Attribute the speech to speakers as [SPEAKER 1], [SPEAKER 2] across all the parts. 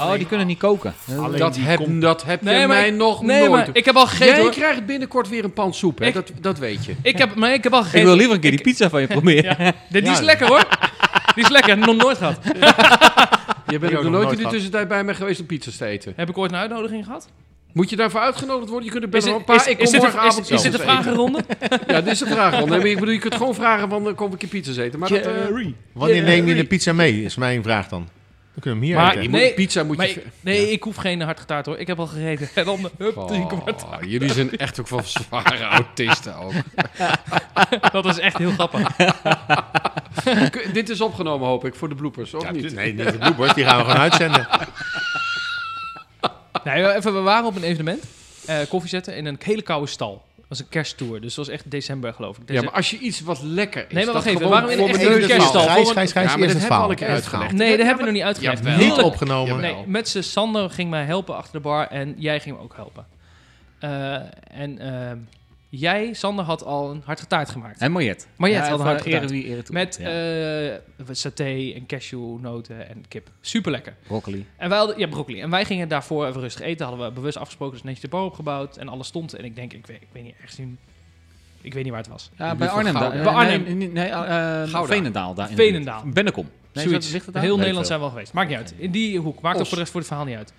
[SPEAKER 1] Oh, die kunnen niet koken.
[SPEAKER 2] dat, heb, dat heb je mij
[SPEAKER 3] ik,
[SPEAKER 2] nog
[SPEAKER 3] nee,
[SPEAKER 2] nooit.
[SPEAKER 3] maar ik heb al gegeten.
[SPEAKER 2] Jij
[SPEAKER 3] hoor.
[SPEAKER 2] krijgt binnenkort weer een pan soep, hè?
[SPEAKER 3] Ik-
[SPEAKER 2] dat, dat weet je.
[SPEAKER 3] Ik heb, maar ik heb al gegeten.
[SPEAKER 1] Ik wil liever een keer die pizza van je proberen.
[SPEAKER 3] Die, die is
[SPEAKER 2] Ja.
[SPEAKER 3] lekker hoor. Die is lekker. Nog nooit gehad.
[SPEAKER 2] Je bent
[SPEAKER 4] ook
[SPEAKER 2] ook nog
[SPEAKER 4] nog
[SPEAKER 2] nooit
[SPEAKER 4] nooit
[SPEAKER 2] in de
[SPEAKER 4] gehad.
[SPEAKER 2] tussentijd bij me geweest om pizza's te eten.
[SPEAKER 3] Heb ik ooit een uitnodiging gehad?
[SPEAKER 2] Moet je daarvoor uitgenodigd worden? Je kunt er
[SPEAKER 3] Is
[SPEAKER 2] best wel een
[SPEAKER 3] het-
[SPEAKER 2] paar.
[SPEAKER 3] is-
[SPEAKER 2] ik kom
[SPEAKER 3] is dit een-
[SPEAKER 2] morgenavond
[SPEAKER 3] is- is dit een
[SPEAKER 2] pizza's eten.
[SPEAKER 3] vragenronde?
[SPEAKER 2] Ja, dit is een vraag. want- Nee, maar ik bedoel, je kunt gewoon vragen van, eh, kom ik een keer pizza's eten. Maar dat, eh,
[SPEAKER 4] Wanneer neem je de pizza mee? Is mijn vraag dan. We kunnen hem hier
[SPEAKER 3] Maar-
[SPEAKER 4] eten.
[SPEAKER 2] je
[SPEAKER 3] Nee,
[SPEAKER 2] moet, pizza moet
[SPEAKER 3] Maar
[SPEAKER 2] je...
[SPEAKER 3] ik- nee, ik hoef geen hard getaard hoor. Ik heb al gegeten. En dan hup, drie kwart.
[SPEAKER 2] Oh, jullie zijn echt ook van zware autisten ook.
[SPEAKER 3] Dat is echt heel grappig.
[SPEAKER 2] K- Dit is opgenomen, hoop ik, voor de bloepers, of
[SPEAKER 4] Ja,
[SPEAKER 2] niet?
[SPEAKER 4] Nee, niet de bloepers, die gaan we gewoon uitzenden.
[SPEAKER 3] Nee, even, we waren op een evenement. eh, koffie zetten in een hele koude stal. Dat was een kersttour. Dus dat was echt december geloof ik.
[SPEAKER 2] Ja, maar als je iets wat lekker is...
[SPEAKER 3] Nee, maar
[SPEAKER 2] dat
[SPEAKER 3] wacht even,
[SPEAKER 2] gewoon
[SPEAKER 3] waarom in
[SPEAKER 2] voor
[SPEAKER 3] echt
[SPEAKER 2] mijn
[SPEAKER 3] een
[SPEAKER 2] neus
[SPEAKER 3] kerststal?
[SPEAKER 2] valt.
[SPEAKER 4] Gijs,
[SPEAKER 3] voor-
[SPEAKER 4] Gijs, Gijs,
[SPEAKER 2] Ja, maar
[SPEAKER 4] eerst
[SPEAKER 2] dat hebben
[SPEAKER 4] het
[SPEAKER 2] we
[SPEAKER 4] verhaal.
[SPEAKER 2] al een keer
[SPEAKER 4] Eerst het verhaal.
[SPEAKER 2] uitgelegd.
[SPEAKER 3] Nee, dat
[SPEAKER 2] Ja,
[SPEAKER 3] hebben we nog niet
[SPEAKER 2] Jawel.
[SPEAKER 3] uitgelegd.
[SPEAKER 4] Niet
[SPEAKER 3] Heerlijk.
[SPEAKER 1] Oh,
[SPEAKER 4] opgenomen.
[SPEAKER 2] Jawel.
[SPEAKER 3] Nee, met z'n Sander ging mij helpen achter de bar en jij ging me ook helpen. Eh, en ehm, jij, Sander, had al een hartige taart gemaakt.
[SPEAKER 1] En Mariet.
[SPEAKER 3] Mariet had
[SPEAKER 1] ja,
[SPEAKER 3] een
[SPEAKER 1] van
[SPEAKER 3] hart gedaan.
[SPEAKER 1] ere wie ere toe.
[SPEAKER 3] Met
[SPEAKER 1] Ja,
[SPEAKER 3] eh, saté en cashewnoten en kip. Super lekker.
[SPEAKER 1] broccoli.
[SPEAKER 3] En wij hadden, ja, broccoli. En wij gingen daarvoor even rustig eten. Hadden we bewust afgesproken, dus netjes de bar opgebouwd. En alles stond. En ik denk, ik weet, ik weet niet echt zien. Ik weet niet waar het was.
[SPEAKER 1] Ja,
[SPEAKER 2] buurt
[SPEAKER 1] bij
[SPEAKER 2] van
[SPEAKER 1] Arnhem. daar.
[SPEAKER 2] Gouda.
[SPEAKER 1] Nee,
[SPEAKER 3] Bij Arnhem.
[SPEAKER 1] Nee, nee, nee, eh, eh,
[SPEAKER 2] Gouda.
[SPEAKER 1] Veenendaal. Daar in de
[SPEAKER 3] Veenendaal.
[SPEAKER 1] buurt. Bennekom. Nee,
[SPEAKER 3] Zoiets.
[SPEAKER 1] is dat- ligt het daar?
[SPEAKER 3] Heel
[SPEAKER 1] Weet
[SPEAKER 3] Nederland
[SPEAKER 1] ik veel.
[SPEAKER 3] zijn we al geweest. Maakt niet uit. In die hoek. Maakt ook
[SPEAKER 2] Os.
[SPEAKER 3] voor de rest voor het verhaal niet uit.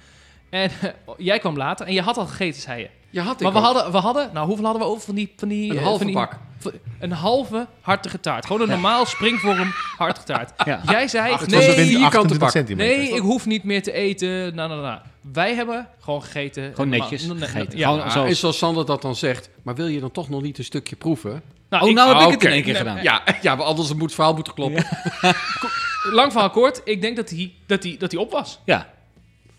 [SPEAKER 3] En jij kwam later. En je had al gegeten, zei je.
[SPEAKER 2] Je had ik
[SPEAKER 3] Maar we
[SPEAKER 2] ook.
[SPEAKER 3] hadden, we hadden, nou hoeveel hadden we over van die... Van die
[SPEAKER 2] Een
[SPEAKER 3] eh,
[SPEAKER 2] halve
[SPEAKER 3] van die-
[SPEAKER 2] bak.
[SPEAKER 3] v- Een halve hartige taart. Gewoon een normaal springvorm hartige taart.
[SPEAKER 1] Ja.
[SPEAKER 3] Jij zei,
[SPEAKER 2] Ach, het was
[SPEAKER 3] nee,
[SPEAKER 2] een wind-
[SPEAKER 3] hier-
[SPEAKER 4] 28
[SPEAKER 2] bak.
[SPEAKER 4] centimeter.
[SPEAKER 3] nee, ik hoef niet meer te eten. Na, na, na. Wij hebben gewoon gegeten.
[SPEAKER 1] Gewoon
[SPEAKER 3] Normaal-
[SPEAKER 1] netjes
[SPEAKER 3] na- na- na-
[SPEAKER 1] gegeten.
[SPEAKER 3] ja.
[SPEAKER 1] Gewoon
[SPEAKER 2] Ja,
[SPEAKER 1] zoals-
[SPEAKER 2] en zoals Sander dat dan zegt, maar wil je dan toch nog niet een stukje proeven?
[SPEAKER 1] Oh,
[SPEAKER 3] ik-
[SPEAKER 1] nou heb ik het
[SPEAKER 2] Ah,
[SPEAKER 1] in
[SPEAKER 2] oké.
[SPEAKER 1] één keer gedaan.
[SPEAKER 2] Ja, ja maar anders moet het verhaal moeten kloppen.
[SPEAKER 3] Lang verhaal kort. Ik denk dat hij dat die, dat die op was.
[SPEAKER 1] Ja.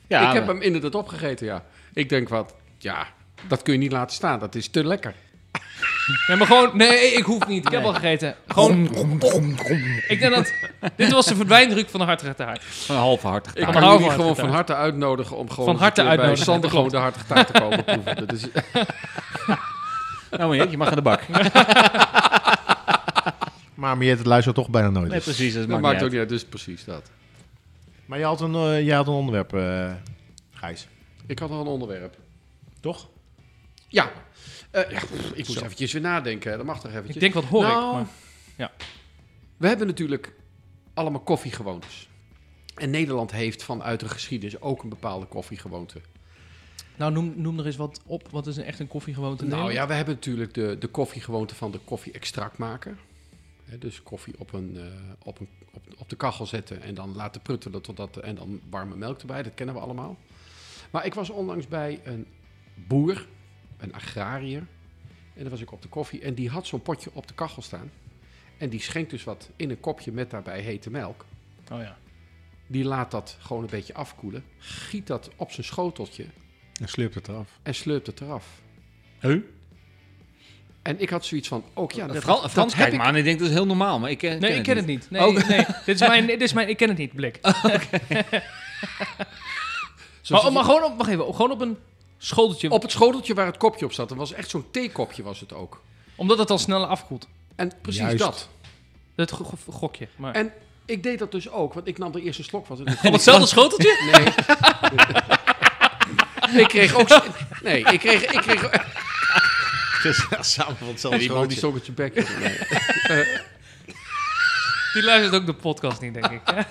[SPEAKER 1] Ja,
[SPEAKER 2] ik heb
[SPEAKER 1] maar-
[SPEAKER 2] hem inderdaad opgegeten, ja. Ik denk wat, ja, dat kun je niet laten staan. Dat is te lekker.
[SPEAKER 3] Nee, maar gewoon... Nee, ik hoef niet. Ik heb al gegeten. Gewoon... Ik denk dat... Dit was de verdwijndruk van de hartige taart.
[SPEAKER 1] een halve hartig.
[SPEAKER 2] Ik
[SPEAKER 3] Van
[SPEAKER 2] kan
[SPEAKER 3] harte
[SPEAKER 2] jullie gewoon
[SPEAKER 3] hartige
[SPEAKER 2] van harte uitnodigen om gewoon
[SPEAKER 3] Van
[SPEAKER 2] eens een
[SPEAKER 3] harte
[SPEAKER 2] keer bij
[SPEAKER 3] uitnodigen,
[SPEAKER 2] Sander
[SPEAKER 3] klopt.
[SPEAKER 2] gewoon de hartige taart te komen proeven. Dat is,
[SPEAKER 1] Nou, Mariet, je mag aan de bak.
[SPEAKER 4] Maar Mariette luistert toch bijna nooit.
[SPEAKER 1] Nee, precies. Dat,
[SPEAKER 2] dat
[SPEAKER 1] maakt,
[SPEAKER 2] maakt ook
[SPEAKER 1] niet
[SPEAKER 2] niet uit, dus precies dat.
[SPEAKER 4] Maar je had een, eh, je had een onderwerp, eh, Gijs.
[SPEAKER 2] Ik had al een onderwerp.
[SPEAKER 4] Toch?
[SPEAKER 2] Ja, Eh, ja pff, ik moest eventjes weer nadenken. Dat mag toch eventjes.
[SPEAKER 3] Ik denk, wat hoor
[SPEAKER 2] Nou,
[SPEAKER 3] ik? Maar,
[SPEAKER 2] We hebben natuurlijk allemaal koffiegewoontes. En Nederland heeft vanuit de geschiedenis ook een bepaalde koffiegewoonte.
[SPEAKER 3] nou, noem, noem er eens wat op. Wat is een, echt een koffiegewoonte? in
[SPEAKER 2] Nou ja,
[SPEAKER 3] Nederland?
[SPEAKER 2] we hebben natuurlijk de, de koffiegewoonte van de koffie-extractmaker. Hè, dus koffie op, een, eh, op, een, op, op de kachel zetten en dan laten pruttelen totdat, en dan warme melk erbij. Dat kennen we allemaal. Maar ik was onlangs bij een boer, een agrariër. En daar was ik op de koffie. En die had zo'n potje op de kachel staan. En die schenkt dus wat in een kopje met daarbij hete melk.
[SPEAKER 3] Oh ja.
[SPEAKER 2] Die laat dat gewoon een beetje afkoelen. Giet dat op zijn schoteltje
[SPEAKER 4] Dan sleurt het eraf.
[SPEAKER 2] en slurpt het eraf.
[SPEAKER 1] Huh?
[SPEAKER 2] En ik had zoiets van, ook ja, dat,
[SPEAKER 1] Fran-
[SPEAKER 2] dat
[SPEAKER 1] Frans
[SPEAKER 2] heb
[SPEAKER 1] kijkt me aan en ik denk dat is heel normaal, maar ik eh, ken,
[SPEAKER 3] Nee, ik ken het
[SPEAKER 1] niet.
[SPEAKER 3] niet. Nee, nee. Oh, Dit, is mijn, dit is mijn... Ik ken het niet, blik.
[SPEAKER 2] Zo
[SPEAKER 4] oh,
[SPEAKER 3] Maar,
[SPEAKER 2] zit
[SPEAKER 3] oh, maar
[SPEAKER 2] je-
[SPEAKER 3] gewoon op... Wacht even. Gewoon op een schoteltje.
[SPEAKER 2] op het schoteltje waar het kopje op zat, dat was echt zo'n theekopje was het ook.
[SPEAKER 3] Omdat het dan sneller afkoelt.
[SPEAKER 2] En precies
[SPEAKER 4] Juist.
[SPEAKER 2] dat.
[SPEAKER 3] Dat go- go- gokje. Maar...
[SPEAKER 2] En ik deed dat dus ook, want ik nam de eerste slok van.
[SPEAKER 3] Op hetzelfde schoteltje?
[SPEAKER 2] Nee. ik kreeg ook... Nee, ik kreeg... Ik kreeg
[SPEAKER 4] samen van hetzelfde
[SPEAKER 2] die man die stok het zijn bek. in. Nee.
[SPEAKER 3] Die luistert ook de podcast niet, denk ik.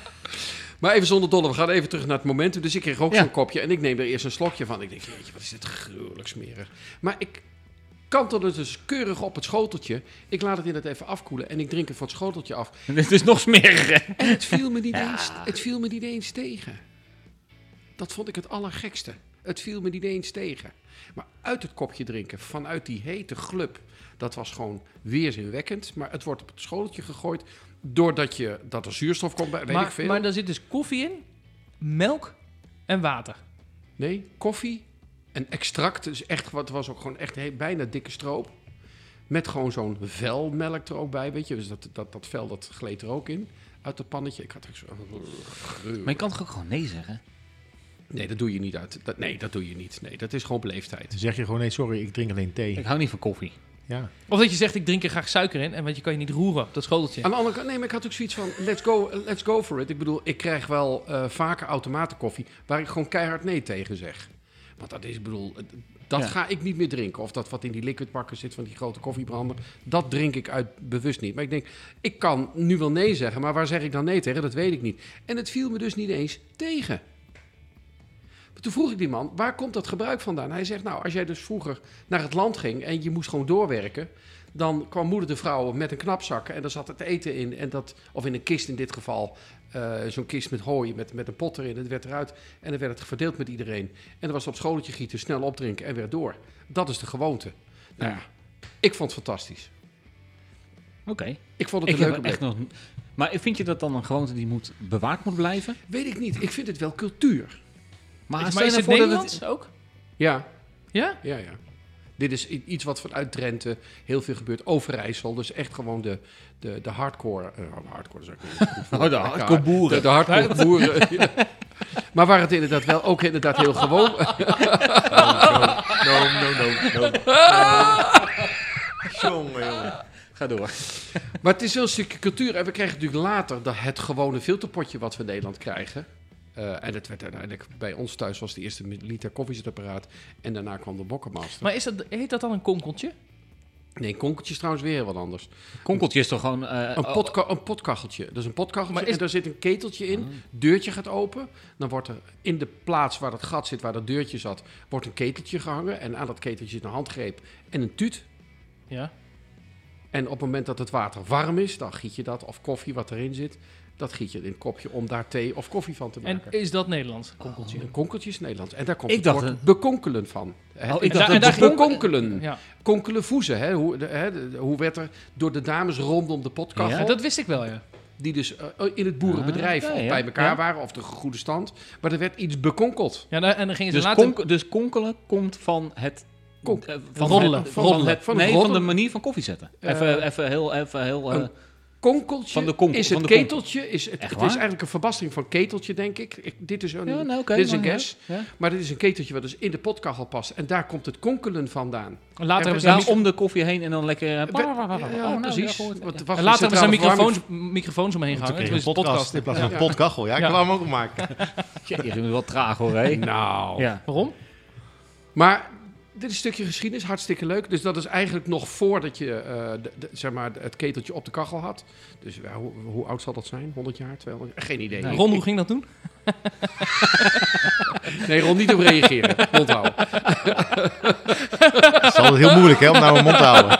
[SPEAKER 2] Maar even zonder dolle, we gaan even terug naar het momentum. Dus ik kreeg ook
[SPEAKER 1] Ja.
[SPEAKER 2] zo'n kopje en ik neem er eerst een slokje van. Ik denk, jeetje, wat is dit gruwelijk smerig. Maar ik kantelde het dus keurig op het schoteltje. Ik laat het inderdaad even afkoelen en ik drink het van het schoteltje af.
[SPEAKER 1] Dit is nog smeriger.
[SPEAKER 2] En het viel me niet, eens, het viel me niet eens tegen. Dat vond ik het allergekste. Het viel me niet eens tegen. Maar uit het kopje drinken, vanuit die hete glub, dat was gewoon weerzinwekkend. Maar het wordt op het schoteltje gegooid doordat je, dat er zuurstof komt bij, weet ik
[SPEAKER 3] maar,
[SPEAKER 2] veel.
[SPEAKER 3] maar daar zit dus koffie in, melk en water.
[SPEAKER 2] Nee, koffie een extract. Dus echt, wat was ook gewoon echt he- bijna dikke stroop. Met gewoon zo'n vel melk er ook bij, weet je. Dus dat, dat, dat vel, dat gleed er ook in. Uit dat pannetje. Ik had echt zo...
[SPEAKER 1] Maar je kan toch ook gewoon nee zeggen?
[SPEAKER 2] Nee, dat doe je niet uit. Dat, nee, dat doe je niet. Nee, dat is gewoon beleefdheid.
[SPEAKER 4] Dan zeg je gewoon, nee, sorry, ik drink alleen thee.
[SPEAKER 1] Ik hou niet van koffie.
[SPEAKER 4] Ja.
[SPEAKER 3] Of dat je zegt, ik drink er graag suiker in, en want je kan je niet roeren op dat schoteltje.
[SPEAKER 2] Aan de andere kant, nee, maar ik had ook zoiets van, let's go, let's go for it. Ik bedoel, ik krijg wel eh, vaker automatenkoffie waar ik gewoon keihard nee tegen zeg. Want dat is, ik bedoel, eh, dat
[SPEAKER 1] Ja.
[SPEAKER 2] ga ik niet meer drinken. Of dat wat in die liquidbakken zit van die grote koffiebrander, dat drink ik uit bewust niet. Maar ik denk, ik kan nu wel nee zeggen, maar waar zeg ik dan nee tegen? Dat weet ik niet. En het viel me dus niet eens tegen. Maar Toen vroeg ik die man, waar komt dat gebruik vandaan? Hij zegt, nou, als jij dus vroeger naar het land ging en je moest gewoon doorwerken, dan kwam moeder de vrouw met een knapzak en daar zat het eten in. En dat, of in een kist in dit geval, eh, zo'n kist met hooi, met, met een pot erin. Het werd eruit en dan werd het verdeeld met iedereen. En dan was het op schooltje gieten, snel opdrinken en weer door. Dat is de gewoonte. Nou ja, ik vond het fantastisch.
[SPEAKER 1] Oké.
[SPEAKER 2] Ik vond het
[SPEAKER 1] Ik
[SPEAKER 2] een
[SPEAKER 1] heb
[SPEAKER 2] leuke
[SPEAKER 1] er echt
[SPEAKER 2] plek.
[SPEAKER 1] nog... Maar vind je dat dan een gewoonte die moet bewaard moet blijven?
[SPEAKER 2] Weet ik niet, ik vind het wel cultuur.
[SPEAKER 1] Maar,
[SPEAKER 3] Is-
[SPEAKER 1] stel
[SPEAKER 3] maar
[SPEAKER 1] je
[SPEAKER 3] is het
[SPEAKER 1] voor dat
[SPEAKER 3] Nederlands ook?
[SPEAKER 2] Ja,
[SPEAKER 3] Ja?
[SPEAKER 2] Ja, ja. Dit is i- iets wat vanuit Drenthe heel veel gebeurt. Overijssel, dus echt gewoon de, de, de hardcore... eh, hardcore is ook niet een goed woord.
[SPEAKER 1] Oh, de hardcore boeren.
[SPEAKER 2] De, de hardcore boeren, ja. Maar waar het inderdaad wel ook inderdaad heel gewoon... eh,
[SPEAKER 4] No, no, no, no. Jongen, jongen.
[SPEAKER 1] Ga door.
[SPEAKER 2] Maar het is wel een stukje cultuur. En we kregen natuurlijk later dat het gewone filterpotje wat we in Nederland krijgen. Eh, en dat werd uiteindelijk bij ons thuis was de eerste liter koffiezetapparaat. En daarna kwam de bokkenmaster.
[SPEAKER 3] Maar is dat, heet dat dan een konkeltje?
[SPEAKER 2] Nee, konkeltje is trouwens weer wat anders.
[SPEAKER 1] Konkeltje is toch gewoon... eh,
[SPEAKER 2] Een, potka- een potkacheltje. Dat is een potkacheltje
[SPEAKER 3] Maar is-
[SPEAKER 2] en daar zit een keteltje in.
[SPEAKER 1] Ah.
[SPEAKER 2] Deurtje gaat open. Dan wordt er in de plaats waar dat gat zit, waar dat deurtje zat, wordt een keteltje gehangen. En aan dat keteltje zit een handgreep en een tuut.
[SPEAKER 3] Ja.
[SPEAKER 2] En op het moment dat het water warm is, dan giet je dat. Of koffie wat erin zit, dat giet je in een kopje om daar thee of koffie van te
[SPEAKER 3] En
[SPEAKER 2] maken.
[SPEAKER 3] is dat Nederlands, konkeltje?
[SPEAKER 2] Een konkeltje is Nederlands. En daar komt
[SPEAKER 1] Ik
[SPEAKER 2] het
[SPEAKER 1] dacht
[SPEAKER 2] woord
[SPEAKER 1] het-
[SPEAKER 2] bekonkelen van. Hè?
[SPEAKER 1] Oh, ik
[SPEAKER 3] En
[SPEAKER 1] dacht
[SPEAKER 3] daar-
[SPEAKER 1] dat
[SPEAKER 3] en daar
[SPEAKER 1] het
[SPEAKER 3] ging-
[SPEAKER 2] bekonkelen.
[SPEAKER 3] Ja.
[SPEAKER 2] Konkelen voezen. Hè? Hoe, de- hè, de- hoe werd er door de dames rondom de potkachel...
[SPEAKER 1] Ja.
[SPEAKER 3] Dat wist ik wel, ja.
[SPEAKER 2] die dus eh, in het boerenbedrijf
[SPEAKER 1] Ah, ja,
[SPEAKER 2] of
[SPEAKER 1] ja.
[SPEAKER 2] bij elkaar
[SPEAKER 1] Ja.
[SPEAKER 2] waren of de goede stand. Maar er werd iets bekonkeld.
[SPEAKER 3] ja nou, en dan gingen ze
[SPEAKER 1] Dus,
[SPEAKER 3] later...
[SPEAKER 1] konk- dus konkelen komt van het...
[SPEAKER 2] Konk-
[SPEAKER 1] eh,
[SPEAKER 3] roddelen,
[SPEAKER 1] het- van,
[SPEAKER 2] roddelen.
[SPEAKER 1] het,
[SPEAKER 2] Van het
[SPEAKER 1] nee, van de
[SPEAKER 2] roddelen.
[SPEAKER 1] manier van koffie zetten.
[SPEAKER 2] Eh,
[SPEAKER 1] even, even heel... Even heel eh,
[SPEAKER 2] een- Konkeltje
[SPEAKER 1] Van de konkel,
[SPEAKER 2] is het
[SPEAKER 1] van de konkel.
[SPEAKER 2] keteltje. Is het,
[SPEAKER 1] Echt
[SPEAKER 2] het
[SPEAKER 1] waar?
[SPEAKER 2] is eigenlijk een verbastering van keteltje, denk ik. ik dit is, een,
[SPEAKER 1] ja, nou, oké,
[SPEAKER 2] dit is
[SPEAKER 1] maar
[SPEAKER 2] een
[SPEAKER 1] ja.
[SPEAKER 2] guess.
[SPEAKER 1] Ja.
[SPEAKER 2] Maar dit is een keteltje wat dus in de potkachel past. En daar komt het konkelen vandaan.
[SPEAKER 3] Later hebben ze
[SPEAKER 1] Ja,
[SPEAKER 3] een micro-
[SPEAKER 1] om de koffie heen en dan lekker... eh,
[SPEAKER 2] We-
[SPEAKER 1] blablabla.
[SPEAKER 2] ja,
[SPEAKER 1] Oh, nou,
[SPEAKER 2] precies.
[SPEAKER 1] ja, goed.
[SPEAKER 2] Want er
[SPEAKER 3] en
[SPEAKER 2] was
[SPEAKER 3] later
[SPEAKER 2] een
[SPEAKER 3] hebben ze
[SPEAKER 2] centrale
[SPEAKER 3] microfoons,
[SPEAKER 2] verwarming.
[SPEAKER 3] microfoons omheen
[SPEAKER 4] Toen
[SPEAKER 3] gehangen.
[SPEAKER 4] kreeg
[SPEAKER 3] Toen
[SPEAKER 4] je
[SPEAKER 3] is
[SPEAKER 4] een
[SPEAKER 3] het
[SPEAKER 4] podcast
[SPEAKER 3] podcast.
[SPEAKER 4] in plaats van
[SPEAKER 3] Ja.
[SPEAKER 4] een potkachel. Ja, ik
[SPEAKER 3] Ja.
[SPEAKER 4] wil hem ook maken.
[SPEAKER 1] Ja, je bent wel traag hoor, hè?
[SPEAKER 2] Nou.
[SPEAKER 1] Ja.
[SPEAKER 3] Waarom?
[SPEAKER 2] Maar dit is een stukje geschiedenis, hartstikke leuk. Dus dat is eigenlijk nog voordat je eh, de- de- zeg maar, het keteltje op de kachel had. Dus ja, hoe, hoe oud zal dat zijn? 100 jaar, 200 jaar? Geen idee.
[SPEAKER 1] Nee.
[SPEAKER 3] Ron, hoe ging dat doen?
[SPEAKER 2] Nee, Ron, niet op reageren. Onthouden.
[SPEAKER 4] Het is altijd heel moeilijk hè, om nou een mond te houden.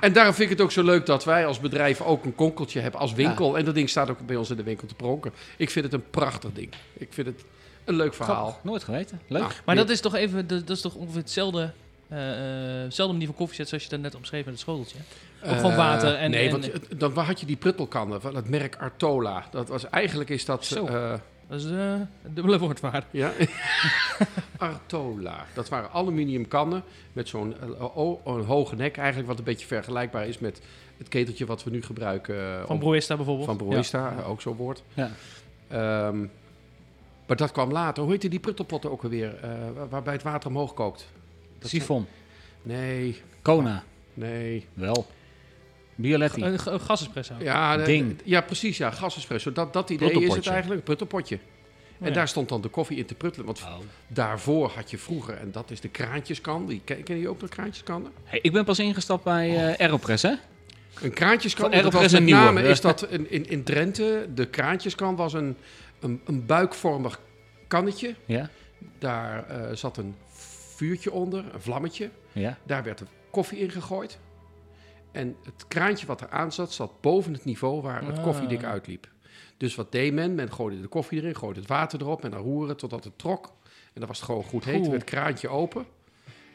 [SPEAKER 2] En daarom vind ik het ook zo leuk dat wij als bedrijf ook een konkeltje hebben als winkel. En dat ding staat ook bij ons in de winkel te pronken. Ik vind het een prachtig ding. Ik vind het een leuk verhaal.
[SPEAKER 1] Grappig, Nooit geweten. Leuk.
[SPEAKER 2] Nou,
[SPEAKER 3] Maar dat is toch even, dat, dat is toch ongeveer hetzelfde, eh, eh, hetzelfde manier van koffie zetten zoals je dat net omschreef met het schoteltje. ook gewoon
[SPEAKER 2] eh,
[SPEAKER 3] water en-
[SPEAKER 2] nee,
[SPEAKER 3] en-
[SPEAKER 2] want het- dan had je die pruttelkannen van het merk Artola. Dat was, eigenlijk is dat...
[SPEAKER 3] Zo.
[SPEAKER 2] eh,
[SPEAKER 3] Dat is eh, een dubbele woordwaarde.
[SPEAKER 2] ja. Artola. Dat waren aluminium kannen met zo'n eh, o- een hoge nek. Eigenlijk wat een beetje vergelijkbaar is met het keteltje wat we nu gebruiken. eh,
[SPEAKER 3] Oh. Van
[SPEAKER 2] om-
[SPEAKER 3] Broista bijvoorbeeld.
[SPEAKER 2] Van
[SPEAKER 3] Ja.
[SPEAKER 2] Broista, eh, ook zo'n woord.
[SPEAKER 1] Ja.
[SPEAKER 2] Ehm, maar dat kwam later. Hoe heette die pruttelpotten ook alweer? eh, waar- waarbij het water omhoog kookt. Dat
[SPEAKER 1] Sifon.
[SPEAKER 2] Nee,
[SPEAKER 1] Kona.
[SPEAKER 2] nee.
[SPEAKER 1] Wel. Bialetti.
[SPEAKER 3] Eh, Een, een gasespresso.
[SPEAKER 2] Ja, de-
[SPEAKER 1] Ding.
[SPEAKER 2] ja precies. Ja, gasespresso. Dat, dat idee is het
[SPEAKER 1] Pruttelpotje.
[SPEAKER 2] eigenlijk. Een pruttelpotje. En
[SPEAKER 3] Ja.
[SPEAKER 2] daar stond dan de koffie in te pruttelen. Want
[SPEAKER 1] Oh.
[SPEAKER 2] daarvoor had je vroeger, en dat is de kraantjeskan. Die, ken, ken je ook nog kraantjeskannen?
[SPEAKER 1] Hey, ik ben pas ingestapt bij
[SPEAKER 2] Oh.
[SPEAKER 1] eh, Aeropress, hè?
[SPEAKER 2] Een kraantjeskan,
[SPEAKER 1] Van
[SPEAKER 2] want dat
[SPEAKER 1] Aeropress
[SPEAKER 2] was met
[SPEAKER 1] een nieuwe.
[SPEAKER 2] name is dat in, in, in Drenthe. De kraantjeskan was een, een, een buikvormig kannetje.
[SPEAKER 1] Ja.
[SPEAKER 2] Daar eh, zat een vuurtje onder, een vlammetje.
[SPEAKER 1] Ja.
[SPEAKER 2] Daar werd de koffie in gegooid. En het kraantje wat eraan zat, zat boven het niveau waar het
[SPEAKER 3] Ah.
[SPEAKER 2] koffiedik uitliep. Dus wat deed men? Men gooide de koffie erin, gooide het water erop en dan roeren totdat het trok. En dan was het gewoon goed heet.
[SPEAKER 3] Oeh.
[SPEAKER 2] werd het kraantje open.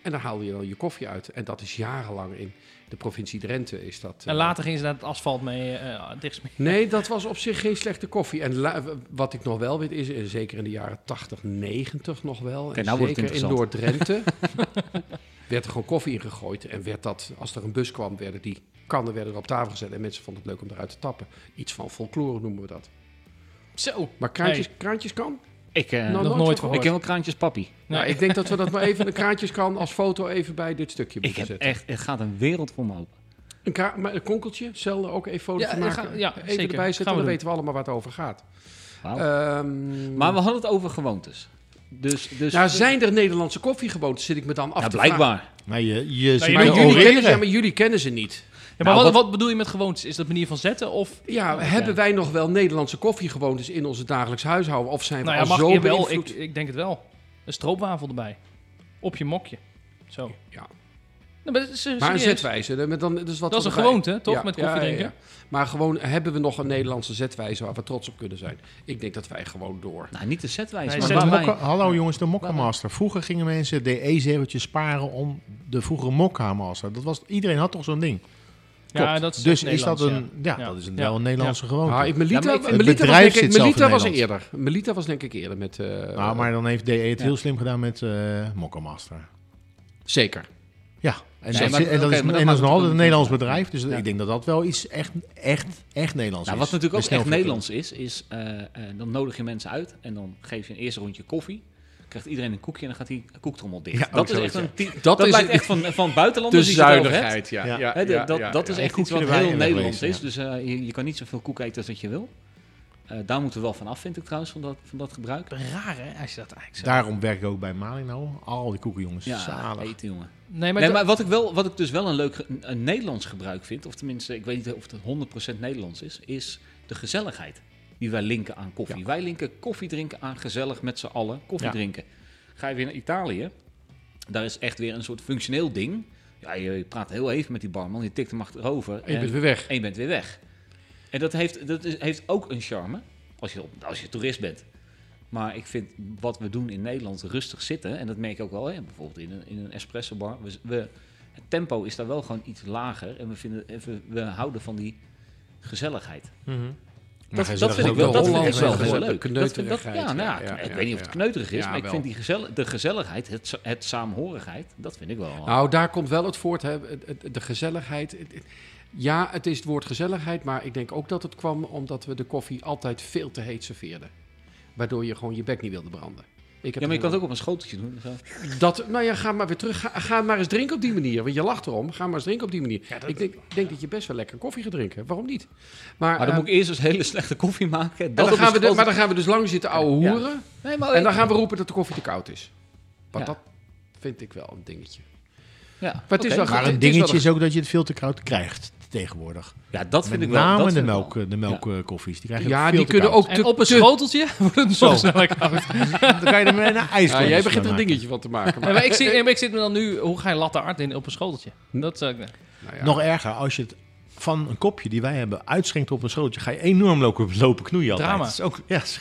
[SPEAKER 2] En daar haalde je dan je koffie uit. En dat is jarenlang in de provincie Drenthe. Is dat, eh,
[SPEAKER 3] En later gingen ze naar het asfalt mee eh dichtsmeren.
[SPEAKER 2] Nee, dat was op zich geen slechte koffie. En la- wat ik nog wel weet is, eh, zeker in de jaren 80, 90 nog wel.
[SPEAKER 1] Kijk,
[SPEAKER 2] en
[SPEAKER 1] nou wordt het
[SPEAKER 2] zeker in
[SPEAKER 1] interessant.
[SPEAKER 2] Noord-Drenthe werd er gewoon koffie in gegooid. En werd dat, als er een bus kwam, werden die kannen werden er op tafel gezet. En mensen vonden het leuk om eruit te tappen. Iets van folklore noemen we dat.
[SPEAKER 3] Zo.
[SPEAKER 2] Maar kraantjes, kraantjeskan?
[SPEAKER 1] Ik, eh,
[SPEAKER 2] Nou,
[SPEAKER 3] nog
[SPEAKER 2] van
[SPEAKER 3] nooit
[SPEAKER 2] gehoord.
[SPEAKER 1] ik ken wel kraantjes papi.
[SPEAKER 3] Nee.
[SPEAKER 2] Nou, ik denk dat we dat maar even, een kraantjeskan als foto even bij dit stukje
[SPEAKER 1] Ik
[SPEAKER 2] moeten
[SPEAKER 1] heb
[SPEAKER 2] zetten.
[SPEAKER 1] echt, het gaat een wereld voor me open.
[SPEAKER 2] Een, kra- maar een konkeltje, cel er ook even foto
[SPEAKER 3] Ja,
[SPEAKER 2] van
[SPEAKER 3] dat
[SPEAKER 2] maken.
[SPEAKER 3] gaan- ja,
[SPEAKER 2] even
[SPEAKER 3] zeker.
[SPEAKER 2] erbij zetten,
[SPEAKER 3] Gaan
[SPEAKER 2] dan
[SPEAKER 3] we doen.
[SPEAKER 2] weten we allemaal waar het over gaat.
[SPEAKER 1] Wauw.
[SPEAKER 2] Ehm,
[SPEAKER 1] maar we hadden het over gewoontes. Dus, dus
[SPEAKER 2] Nou, zijn er Nederlandse koffiegewoontes, zit ik me dan af
[SPEAKER 1] Ja,
[SPEAKER 2] te
[SPEAKER 1] blijkbaar.
[SPEAKER 4] Maar je, je zit
[SPEAKER 3] jullie
[SPEAKER 2] vragen. Nou, Maar
[SPEAKER 4] me
[SPEAKER 2] jullie, kennen ze,
[SPEAKER 4] oreren.
[SPEAKER 2] ja, maar jullie kennen ze niet.
[SPEAKER 3] Ja, maar
[SPEAKER 1] Nou,
[SPEAKER 3] wat, wat bedoel je met gewoontes? Is dat manier van zetten? Of
[SPEAKER 2] Ja,
[SPEAKER 3] Oké.
[SPEAKER 2] hebben wij nog wel Nederlandse koffiegewoontes in onze dagelijks huishouden? Of zijn we
[SPEAKER 3] nou ja,
[SPEAKER 2] al
[SPEAKER 3] mag
[SPEAKER 2] zo
[SPEAKER 3] je wel? Ik,
[SPEAKER 2] beïnvloed?
[SPEAKER 3] ik denk het wel. Een stroopwafel erbij. Op je mokje. Zo.
[SPEAKER 2] Ja.
[SPEAKER 3] Nou, maar dat is, eh,
[SPEAKER 2] maar een
[SPEAKER 3] serieus.
[SPEAKER 2] zetwijze, hè, met dan, dat is, wat
[SPEAKER 3] Dat is een
[SPEAKER 2] erbij-
[SPEAKER 3] gewoonte, toch?
[SPEAKER 2] Ja,
[SPEAKER 3] met
[SPEAKER 2] ja,
[SPEAKER 3] koffie
[SPEAKER 2] ja,
[SPEAKER 3] drinken.
[SPEAKER 2] ja. Maar gewoon, hebben we nog een Nederlandse zetwijze waar we trots op kunnen zijn? Ik denk dat wij gewoon door.
[SPEAKER 1] Nou, niet de setwijze. maar
[SPEAKER 3] Nee,
[SPEAKER 4] Maar de
[SPEAKER 3] zet-
[SPEAKER 1] waar
[SPEAKER 4] mokka-
[SPEAKER 1] wij-
[SPEAKER 4] hallo jongens, de Mokkamaster. Vroeger gingen mensen de E-zerotjes sparen om de vroegere Mokkamaster. Dat was, iedereen had toch zo'n ding?
[SPEAKER 3] Ja,
[SPEAKER 4] Klopt.
[SPEAKER 3] dat is
[SPEAKER 4] dus
[SPEAKER 3] echt
[SPEAKER 4] is dat
[SPEAKER 3] Nederlands,
[SPEAKER 4] een, ja,
[SPEAKER 3] Ja.
[SPEAKER 4] dat is een,
[SPEAKER 3] Ja.
[SPEAKER 4] wel een Nederlandse gewoonte.
[SPEAKER 2] Ah, ik- Melita,
[SPEAKER 1] Ja, maar ik vind-
[SPEAKER 2] Melita
[SPEAKER 4] Het
[SPEAKER 2] was, denk
[SPEAKER 4] bedrijf zit
[SPEAKER 2] ik,
[SPEAKER 4] zelf in
[SPEAKER 2] Melita was
[SPEAKER 4] Nederland.
[SPEAKER 2] eerder. Melita was denk ik eerder met... eh,
[SPEAKER 4] nou, maar dan heeft DE het
[SPEAKER 1] Ja.
[SPEAKER 4] heel slim gedaan met eh Mokkamaster.
[SPEAKER 2] Zeker.
[SPEAKER 4] Ja, en
[SPEAKER 1] Nee,
[SPEAKER 4] dat
[SPEAKER 1] maar-
[SPEAKER 4] zit-
[SPEAKER 1] oké,
[SPEAKER 4] en dat is
[SPEAKER 1] maar dat
[SPEAKER 4] en dat
[SPEAKER 1] maakt
[SPEAKER 4] is nog altijd
[SPEAKER 1] het
[SPEAKER 4] een Nederlands
[SPEAKER 1] ook-
[SPEAKER 4] bedrijf. Dus
[SPEAKER 1] Ja.
[SPEAKER 4] ik denk dat dat wel iets echt, echt, echt Nederlands
[SPEAKER 1] Nou,
[SPEAKER 4] is.
[SPEAKER 1] wat natuurlijk ook
[SPEAKER 4] Met
[SPEAKER 1] echt
[SPEAKER 4] snel
[SPEAKER 1] Nederlands is, is eh, eh, dan nodig je mensen uit en dan geef je een eerste rondje koffie. Krijgt iedereen een koekje en dan gaat die koektrommel dicht.
[SPEAKER 2] Ja, ook
[SPEAKER 1] dat is
[SPEAKER 2] zoiets,
[SPEAKER 1] echt een ty- dat,
[SPEAKER 2] is
[SPEAKER 1] lijkt
[SPEAKER 2] het-
[SPEAKER 1] echt van, van buitenlanders
[SPEAKER 2] De
[SPEAKER 1] die je het over hebt.
[SPEAKER 2] zuinigheid, ja.
[SPEAKER 4] Ja.
[SPEAKER 2] ja,
[SPEAKER 1] Hè, de-
[SPEAKER 2] ja,
[SPEAKER 1] dat,
[SPEAKER 2] ja,
[SPEAKER 1] dat
[SPEAKER 2] ja.
[SPEAKER 1] is echt
[SPEAKER 4] Een
[SPEAKER 1] iets wat
[SPEAKER 4] koekje erbij
[SPEAKER 1] heel
[SPEAKER 4] en
[SPEAKER 1] Nederlands
[SPEAKER 4] wegwezen,
[SPEAKER 1] is. Dus eh, je, je kan niet zoveel koek eten als dat je wil. Eh, daar moeten we wel van af, vind ik trouwens, van dat, van dat gebruik.
[SPEAKER 3] Raar, hè? Als je dat eigenlijk zo...
[SPEAKER 4] Daarom werk ik ook bij Malino. Al die koekenjongens,
[SPEAKER 1] Ja,
[SPEAKER 4] zalig.
[SPEAKER 1] eten, jongen.
[SPEAKER 3] Nee, maar,
[SPEAKER 1] nee,
[SPEAKER 3] da-
[SPEAKER 1] maar wat ik, wel, wat ik dus wel een leuk ge- een- een Nederlands gebruik vind, of tenminste, ik weet niet of het 100% Nederlands is, is de gezelligheid die wij linken aan koffie. Wij linken koffie drinken aan gezellig met z'n allen koffie
[SPEAKER 4] Ja.
[SPEAKER 1] drinken. Ga je weer naar Italië, daar is echt weer een soort functioneel ding. Ja, je praat heel even met die barman, je tikt hem achterover
[SPEAKER 2] En je
[SPEAKER 1] en,
[SPEAKER 2] bent weer weg.
[SPEAKER 1] en je bent weer weg. En dat heeft, dat is, heeft ook een charme, als je, op- als je toerist bent. Maar ik vind wat we doen in Nederland, rustig zitten, en dat merk ik ook wel, hè, bijvoorbeeld in een, in een espresso bar. We, we- het tempo is daar wel gewoon iets lager en we, vinden, en we, we houden van die gezelligheid.
[SPEAKER 3] Mhm.
[SPEAKER 1] Dat,
[SPEAKER 4] Maar
[SPEAKER 1] dat
[SPEAKER 4] gezellig
[SPEAKER 1] vind ik
[SPEAKER 4] ook
[SPEAKER 1] wel,
[SPEAKER 4] wel
[SPEAKER 1] dat vind ik echt wel
[SPEAKER 4] Hollands,
[SPEAKER 1] heel
[SPEAKER 4] hè,
[SPEAKER 2] de
[SPEAKER 1] leuk. Dat vind, dat, ja,
[SPEAKER 2] kneuterigheid,
[SPEAKER 1] nou ja,
[SPEAKER 2] ja, ja,
[SPEAKER 1] ik
[SPEAKER 2] ja,
[SPEAKER 1] weet niet of het
[SPEAKER 2] ja.
[SPEAKER 1] kneuterig is,
[SPEAKER 2] Ja,
[SPEAKER 1] maar ik
[SPEAKER 2] wel.
[SPEAKER 1] vind die gezellig, de gezelligheid, het, sa- het saamhorigheid, dat vind ik wel.
[SPEAKER 2] Nou, daar komt wel het voort, hè. het- het- de gezelligheid. Het- het- Ja, het is het woord gezelligheid, maar ik denk ook dat het kwam omdat we de koffie altijd veel te heet serveerden. Waardoor je gewoon je bek niet wilde branden. Ik heb
[SPEAKER 1] ja, maar je kan
[SPEAKER 2] er
[SPEAKER 1] het ook op een schoteltje doen. Zo.
[SPEAKER 2] wel- Dat, nou ja, ga maar weer terug. Ga, ga maar eens drinken op die manier. Want je lacht erom. Ga maar eens drinken op die manier. ik denk, denk dat je best wel lekker koffie gaat drinken. Waarom niet? Maar,
[SPEAKER 1] Maar dan
[SPEAKER 2] eh,
[SPEAKER 1] moet ik eerst eens hele slechte koffie maken.
[SPEAKER 2] en dan
[SPEAKER 1] op een
[SPEAKER 2] gaan we de-
[SPEAKER 1] schoteltje-
[SPEAKER 2] maar dan gaan we dus lang zitten ouwe
[SPEAKER 1] Ja.
[SPEAKER 2] hoeren.
[SPEAKER 1] Nee, maar
[SPEAKER 2] En dan gaan we roepen dat de koffie te koud is. Want
[SPEAKER 1] Ja.
[SPEAKER 2] dat vind ik wel een dingetje.
[SPEAKER 1] ja,
[SPEAKER 2] het is
[SPEAKER 1] oké.
[SPEAKER 2] wel
[SPEAKER 4] Maar
[SPEAKER 2] Het
[SPEAKER 4] een
[SPEAKER 2] is
[SPEAKER 4] dingetje
[SPEAKER 2] wel-
[SPEAKER 4] is ook dat je het veel te koud krijgt tegenwoordig.
[SPEAKER 1] Ja, dat vind
[SPEAKER 4] Met
[SPEAKER 1] ik wel.
[SPEAKER 4] name
[SPEAKER 1] dat
[SPEAKER 4] de
[SPEAKER 1] vind ik wel.
[SPEAKER 4] melk, de melkkoffies. Die krijg je
[SPEAKER 2] Ja,
[SPEAKER 4] ook
[SPEAKER 2] die
[SPEAKER 4] veel te
[SPEAKER 2] kunnen
[SPEAKER 4] koud.
[SPEAKER 2] ook
[SPEAKER 3] en
[SPEAKER 2] te,
[SPEAKER 3] op een
[SPEAKER 2] te
[SPEAKER 3] schoteltje wordt het zo sneller koud.
[SPEAKER 4] Dan kan je er met een ijs.
[SPEAKER 2] Ja, jij begint er een dingetje van te maken.
[SPEAKER 3] Nee,
[SPEAKER 2] Maar,
[SPEAKER 3] maar ik, zie, nee, maar ik zit me dan nu... Hoe ga je latte art in op een schoteltje? Dat zou ik...
[SPEAKER 2] Nou ja.
[SPEAKER 4] Nog erger, als je het van een kopje die wij hebben uitschenkt op een schoteltje, ga je enorm lopen, lopen knoeien altijd.
[SPEAKER 3] Drama.
[SPEAKER 4] Dat is ook ja, s-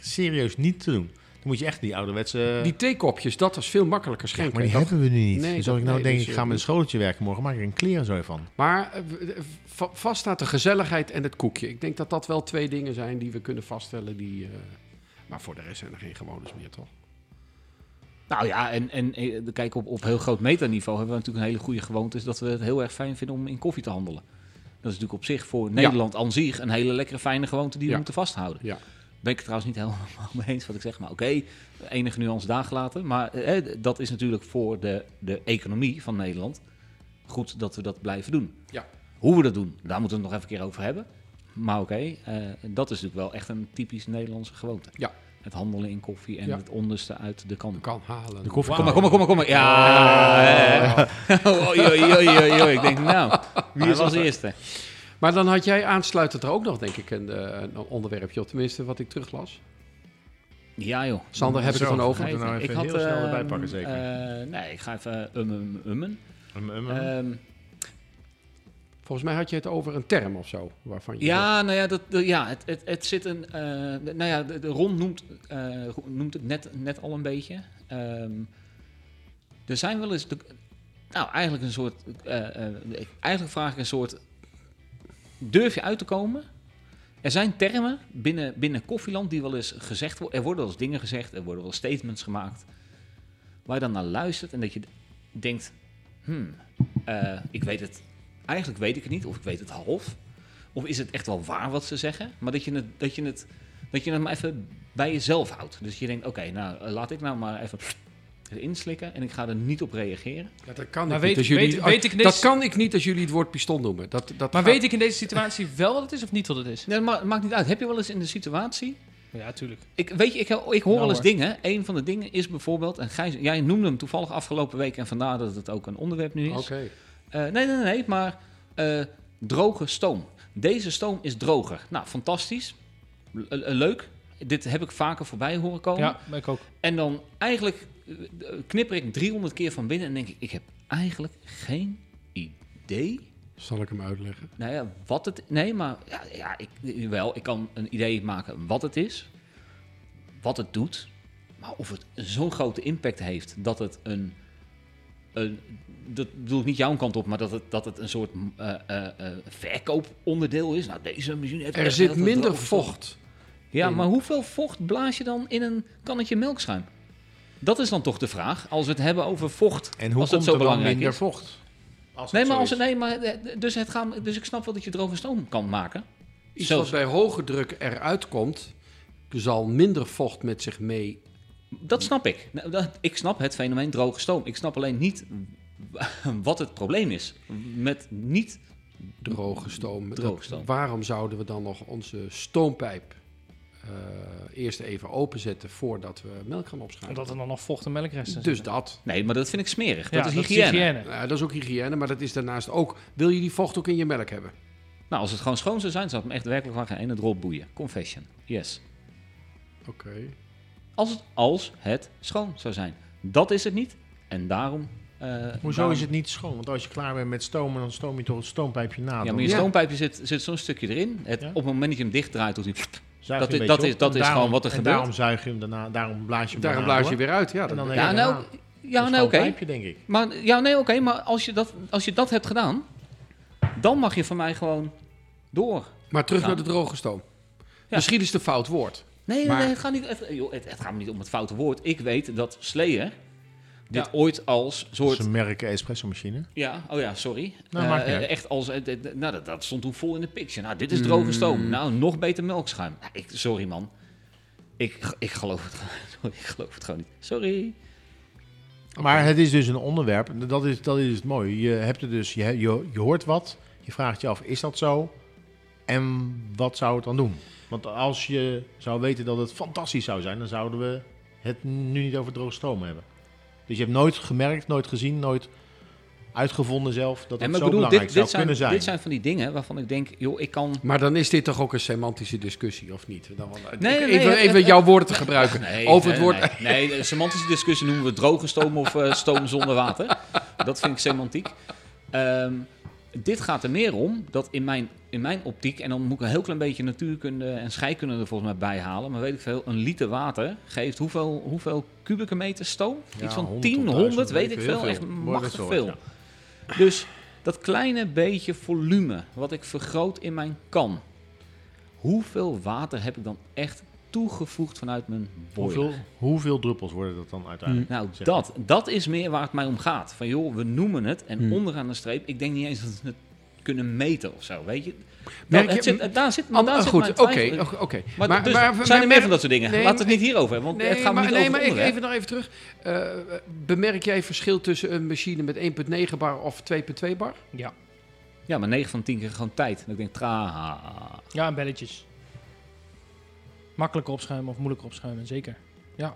[SPEAKER 4] serieus niet te doen. Dan moet je echt die ouderwetse...
[SPEAKER 2] die theekopjes, dat was veel makkelijker schenken.
[SPEAKER 4] maar die
[SPEAKER 2] Dat-
[SPEAKER 4] hebben we nu niet.
[SPEAKER 2] Nee,
[SPEAKER 4] dus
[SPEAKER 2] dat-
[SPEAKER 4] als ik nou
[SPEAKER 2] nee,
[SPEAKER 4] denk,
[SPEAKER 2] dus,
[SPEAKER 4] ik
[SPEAKER 2] eh,
[SPEAKER 4] ga met een schoteltje werken morgen, maak ik een kleren zo van.
[SPEAKER 2] maar eh, w- eh, va- vast staat de gezelligheid en het koekje. Ik denk dat dat wel twee dingen zijn die we kunnen vaststellen. Die, eh, maar voor de rest zijn er geen gewoontes meer, toch?
[SPEAKER 1] Nou ja, en, en eh, kijk, op, op heel groot metaniveau hebben we natuurlijk een hele goede gewoonte. Is dat we het heel erg fijn vinden om in koffie te handelen. Dat is natuurlijk op zich voor Nederland aan zich een hele lekkere, fijne gewoonte die we
[SPEAKER 2] Ja.
[SPEAKER 1] moeten vasthouden.
[SPEAKER 2] Ja.
[SPEAKER 1] Ben ik het trouwens niet helemaal mee eens wat ik zeg, maar oké, enige nuance daar gelaten. Maar eh, dat is natuurlijk voor de, de economie van Nederland goed dat we dat blijven doen.
[SPEAKER 2] Ja.
[SPEAKER 1] Hoe we dat doen, daar moeten we het nog even een keer over hebben. Maar oké, eh, dat is natuurlijk wel echt een typisch Nederlandse gewoonte.
[SPEAKER 2] Ja.
[SPEAKER 1] Het handelen in koffie en
[SPEAKER 2] Ja.
[SPEAKER 1] het onderste uit de kan.
[SPEAKER 2] Je kan halen.
[SPEAKER 4] De koffie
[SPEAKER 1] Kom maar, kom maar, kom maar, kom maar. Ja. Oei, oei, oei, oei, oei. Ik denk, nou, wie is als eerste?
[SPEAKER 2] Maar dan had jij aansluitend er ook nog, denk ik, een, eh, een onderwerpje. Of tenminste, wat ik teruglas.
[SPEAKER 1] Ja, joh.
[SPEAKER 2] Sander, heb ik
[SPEAKER 4] Zo,
[SPEAKER 2] het van over?
[SPEAKER 4] ga je- er nou
[SPEAKER 1] Ik
[SPEAKER 4] even
[SPEAKER 1] had,
[SPEAKER 4] heel snel
[SPEAKER 1] ehm,
[SPEAKER 4] erbij pakken, zeker.
[SPEAKER 1] eh, nee, ik ga even ummen, ummen, ummen.
[SPEAKER 4] Um, um, um.
[SPEAKER 1] Ehm,
[SPEAKER 2] Volgens mij had je het over een term of zo. Waarvan je
[SPEAKER 1] ja, nou ja, dat, dat- ja het, het, het zit een... eh, nou ja, de, de Ron noemt, eh, noemt het net, net al een beetje. Ehm, Er zijn wel eens. De, nou, eigenlijk een soort. eh, eh, ik- eigenlijk vraag ik een soort. Durf je uit te komen? Er zijn termen binnen, binnen Koffieland die wel eens gezegd worden. Er worden wel eens dingen gezegd, er worden wel statements gemaakt. Waar je dan naar luistert en dat je d- denkt: hmm, eh, ik weet het. Eigenlijk weet ik het niet, of ik weet het half. Of is het echt wel waar wat ze zeggen? Maar dat je het, dat je het, dat je het maar even bij jezelf houdt. Dus je denkt: oké, nou eh, laat ik nou maar even erin slikken en ik ga er niet op reageren.
[SPEAKER 2] Ja, dat kan
[SPEAKER 3] Maar
[SPEAKER 2] ik
[SPEAKER 3] weet-
[SPEAKER 2] niet als jullie,
[SPEAKER 3] weet-
[SPEAKER 2] als-
[SPEAKER 3] weet ik niks-
[SPEAKER 2] Dat kan ik niet als jullie het woord pistool noemen. Dat, dat
[SPEAKER 3] Maar
[SPEAKER 2] gaat-
[SPEAKER 3] weet ik in deze situatie wel wat het is of niet wat het is?
[SPEAKER 1] Nee, dat ma- maakt niet uit. Heb je wel eens in de situatie
[SPEAKER 3] Ja, tuurlijk.
[SPEAKER 1] Ik, weet je, ik, ik Nou, hoor wel eens
[SPEAKER 3] hoor.
[SPEAKER 1] dingen. Een van de dingen is bijvoorbeeld, en Gijs, jij noemde hem toevallig afgelopen week en vandaar dat het ook een onderwerp nu is.
[SPEAKER 2] Oké.
[SPEAKER 1] Eh, nee, nee, nee, nee, maar eh, droge stoom. Deze stoom is droger. Nou, fantastisch. Le- eh, leuk. Dit heb ik vaker voorbij horen komen.
[SPEAKER 3] Ja, ben ik ook.
[SPEAKER 1] En dan eigenlijk eh, knipper ik 300 keer van binnen en denk ik, ik heb eigenlijk geen idee
[SPEAKER 2] Zal ik hem uitleggen?
[SPEAKER 1] nou ja, wat het... Nee, maar ja, ja, ik, wel, ik kan een idee maken wat het is. Wat het doet. Maar of het zo'n grote impact heeft dat het een... een dat bedoel ik niet jouw kant op, maar dat het, dat het een soort eh, eh, eh, verkooponderdeel is. Nou, deze machine heeft...
[SPEAKER 2] Er
[SPEAKER 1] echt
[SPEAKER 2] zit
[SPEAKER 1] heel veel
[SPEAKER 2] minder
[SPEAKER 1] droogstof.
[SPEAKER 2] vocht.
[SPEAKER 1] Ja,
[SPEAKER 2] in.
[SPEAKER 1] maar hoeveel vocht blaas je dan in een kannetje melkschuim? Dat is dan toch de vraag, als we het hebben over vocht.
[SPEAKER 4] En hoe
[SPEAKER 1] als dat
[SPEAKER 4] komt
[SPEAKER 1] zo
[SPEAKER 4] er dan
[SPEAKER 1] belangrijk
[SPEAKER 4] minder
[SPEAKER 1] is.
[SPEAKER 4] vocht? Als
[SPEAKER 1] Nee,
[SPEAKER 4] het
[SPEAKER 1] maar, als,
[SPEAKER 4] zo is.
[SPEAKER 1] het- nee, maar eh, dus, het gaan, dus ik snap wel dat je droge stoom kan maken.
[SPEAKER 2] Iets
[SPEAKER 1] Zo.
[SPEAKER 2] wat bij hoge druk eruit komt, zal minder vocht met zich mee.
[SPEAKER 1] Dat snap ik. Nou, dat- Ik snap het fenomeen droge stoom. Ik snap alleen niet wat het probleem is. Met niet.
[SPEAKER 2] Droge stoom. Dat-
[SPEAKER 1] Droge stoom.
[SPEAKER 2] waarom zouden we dan nog onze stoompijp eh, eerst even openzetten voordat we melk gaan opschuiven?
[SPEAKER 3] Omdat er dan nog vocht en melkresten zijn.
[SPEAKER 2] Dus dat.
[SPEAKER 1] Nee, maar dat vind ik smerig.
[SPEAKER 3] Ja,
[SPEAKER 1] dat is hygiëne.
[SPEAKER 2] Nou, dat is ook hygiëne, maar dat is daarnaast ook. Wil je die vocht ook in je melk hebben?
[SPEAKER 1] Nou, als het gewoon schoon zou zijn, zou het me echt werkelijk waar geen ene drol boeien. Confession. Yes.
[SPEAKER 2] Oké.
[SPEAKER 1] Als het, als het schoon zou zijn. Dat is het niet. En daarom. eh,
[SPEAKER 4] Hoezo
[SPEAKER 1] daarom-
[SPEAKER 4] is het niet schoon? Want als je klaar bent met stomen, dan stoom je toch het stoompijpje na.
[SPEAKER 1] Ja,
[SPEAKER 4] Dan
[SPEAKER 1] maar je
[SPEAKER 2] Ja.
[SPEAKER 1] stoompijpje zit, zit zo'n stukje erin. Het,
[SPEAKER 4] Ja.
[SPEAKER 1] Op het moment dat je hem dichtdraait, doet hij.
[SPEAKER 4] zuig
[SPEAKER 1] dat
[SPEAKER 4] je een
[SPEAKER 1] is- dat
[SPEAKER 4] beetje
[SPEAKER 1] is-
[SPEAKER 4] op
[SPEAKER 1] dat
[SPEAKER 4] en
[SPEAKER 1] is gewoon wat er
[SPEAKER 4] en
[SPEAKER 1] gebeurt.
[SPEAKER 4] daarom zuig je hem daarna, daarom blaas je hem
[SPEAKER 2] Daarom
[SPEAKER 4] daarna
[SPEAKER 2] blaas je
[SPEAKER 4] door.
[SPEAKER 2] weer uit. Ja, dat-
[SPEAKER 4] En dan
[SPEAKER 1] Ja, nou, ja, nou oké.
[SPEAKER 4] pijpje, denk ik.
[SPEAKER 1] Maar ja, nee, oké, maar als je, dat, als je dat hebt gedaan, dan mag je van mij gewoon door.
[SPEAKER 2] Maar terug
[SPEAKER 1] Ja.
[SPEAKER 2] naar de droge stoom. Misschien is het een fout woord.
[SPEAKER 1] Nee, nee,
[SPEAKER 2] Maar-
[SPEAKER 1] nee, het gaat, niet, het, joh, het, het gaat me niet om het foute woord. Ik weet dat Slayer dit
[SPEAKER 2] Ja.
[SPEAKER 1] ooit als
[SPEAKER 4] Dat
[SPEAKER 1] soort...
[SPEAKER 4] is een merk espresso machine.
[SPEAKER 1] Ja, oh ja, sorry.
[SPEAKER 4] Nou,
[SPEAKER 1] Eh,
[SPEAKER 4] maakt niet
[SPEAKER 1] eh,
[SPEAKER 4] uit. Mm.
[SPEAKER 1] echt als, eh, eh, nou, dat, dat stond toen vol in de picture. Nou, dit is droge stoom. Nou, nog beter melkschuim. Nou, ik, sorry, man. Ik, ik, geloof het, gewoon- ik geloof het gewoon niet. Sorry.
[SPEAKER 4] Maar het is dus een onderwerp, en dat is, dat is het mooie. Je, hebt er dus, je, je, je hoort wat, je vraagt je af, is dat zo? En wat zou het dan doen? Want als je zou weten dat het fantastisch zou zijn, dan zouden we het nu niet over droge stroom hebben. Dus je hebt nooit gemerkt, nooit gezien, nooit uitgevonden zelf dat
[SPEAKER 1] En maar
[SPEAKER 4] het zo
[SPEAKER 1] ik bedoel,
[SPEAKER 4] belangrijk
[SPEAKER 1] dit,
[SPEAKER 4] zou
[SPEAKER 1] dit, zijn,
[SPEAKER 4] kunnen zijn.
[SPEAKER 1] dit zijn van die dingen waarvan ik denk, joh, ik kan...
[SPEAKER 2] Maar dan is dit toch ook een semantische discussie, of niet? Dan, want-
[SPEAKER 1] Nee, nee,
[SPEAKER 2] ik- ik
[SPEAKER 1] nee,
[SPEAKER 2] wil
[SPEAKER 1] het-
[SPEAKER 2] even
[SPEAKER 1] het-
[SPEAKER 2] jouw woorden te gebruiken.
[SPEAKER 1] Nee,
[SPEAKER 2] over
[SPEAKER 1] nee,
[SPEAKER 2] het woord.
[SPEAKER 1] Nee, nee, de semantische discussie noemen we droge stoom of eh, stoom zonder water. Dat vind ik semantiek. Ehm, dit gaat er meer om dat in mijn, in mijn optiek, en dan moet ik een heel klein beetje natuurkunde en scheikunde er volgens mij bij halen, maar weet ik veel, een liter water geeft hoeveel, hoeveel kubieke meter stoom?
[SPEAKER 4] Ja,
[SPEAKER 1] Iets van
[SPEAKER 4] 100
[SPEAKER 1] 10,
[SPEAKER 4] tot
[SPEAKER 1] 100,
[SPEAKER 4] 1000,
[SPEAKER 1] weet ik veel.
[SPEAKER 4] heel
[SPEAKER 1] Echt
[SPEAKER 4] veel.
[SPEAKER 1] machtig
[SPEAKER 4] Wordt
[SPEAKER 1] veel.
[SPEAKER 4] het
[SPEAKER 1] Dus dat kleine beetje volume wat ik vergroot in mijn kan, hoeveel water heb ik dan echt toegevoegd vanuit mijn boiler?
[SPEAKER 4] hoeveel, hoeveel druppels worden dat dan uiteindelijk?
[SPEAKER 1] Nou,
[SPEAKER 4] Zeg maar.
[SPEAKER 1] dat, dat is meer waar het mij om gaat. Van joh, we noemen het en
[SPEAKER 2] Hmm.
[SPEAKER 1] onderaan de streep. Ik denk niet eens dat we het kunnen meten of zo, weet je.
[SPEAKER 2] Merk
[SPEAKER 1] Dat- het
[SPEAKER 2] je-
[SPEAKER 1] zit, daar zit,
[SPEAKER 2] An-
[SPEAKER 1] daar
[SPEAKER 2] ah,
[SPEAKER 1] zit
[SPEAKER 2] goed,
[SPEAKER 1] mijn
[SPEAKER 2] oké.
[SPEAKER 1] twijfel.
[SPEAKER 2] oké, oké.
[SPEAKER 1] Maar,
[SPEAKER 2] Maar-
[SPEAKER 1] dus,
[SPEAKER 2] maar-
[SPEAKER 1] zijn er meer
[SPEAKER 2] maar-
[SPEAKER 1] van dat soort dingen?
[SPEAKER 2] nee,
[SPEAKER 1] Laat het
[SPEAKER 2] maar-
[SPEAKER 1] niet hierover hebben, want
[SPEAKER 2] Nee,
[SPEAKER 1] het gaat
[SPEAKER 2] maar,
[SPEAKER 1] niet
[SPEAKER 2] nee,
[SPEAKER 1] over
[SPEAKER 2] maar
[SPEAKER 1] het
[SPEAKER 2] ik,
[SPEAKER 1] onderwerp.
[SPEAKER 2] even, nog even terug. Eh, bemerk jij verschil tussen een machine met 1,9 bar of 2,2 bar?
[SPEAKER 3] Ja.
[SPEAKER 1] Ja, maar 9 van 10 keer gewoon tijd. En ik denk, tra.
[SPEAKER 3] ja, en belletjes. Makkelijk opschuimen of moeilijk opschuimen, zeker. Ja.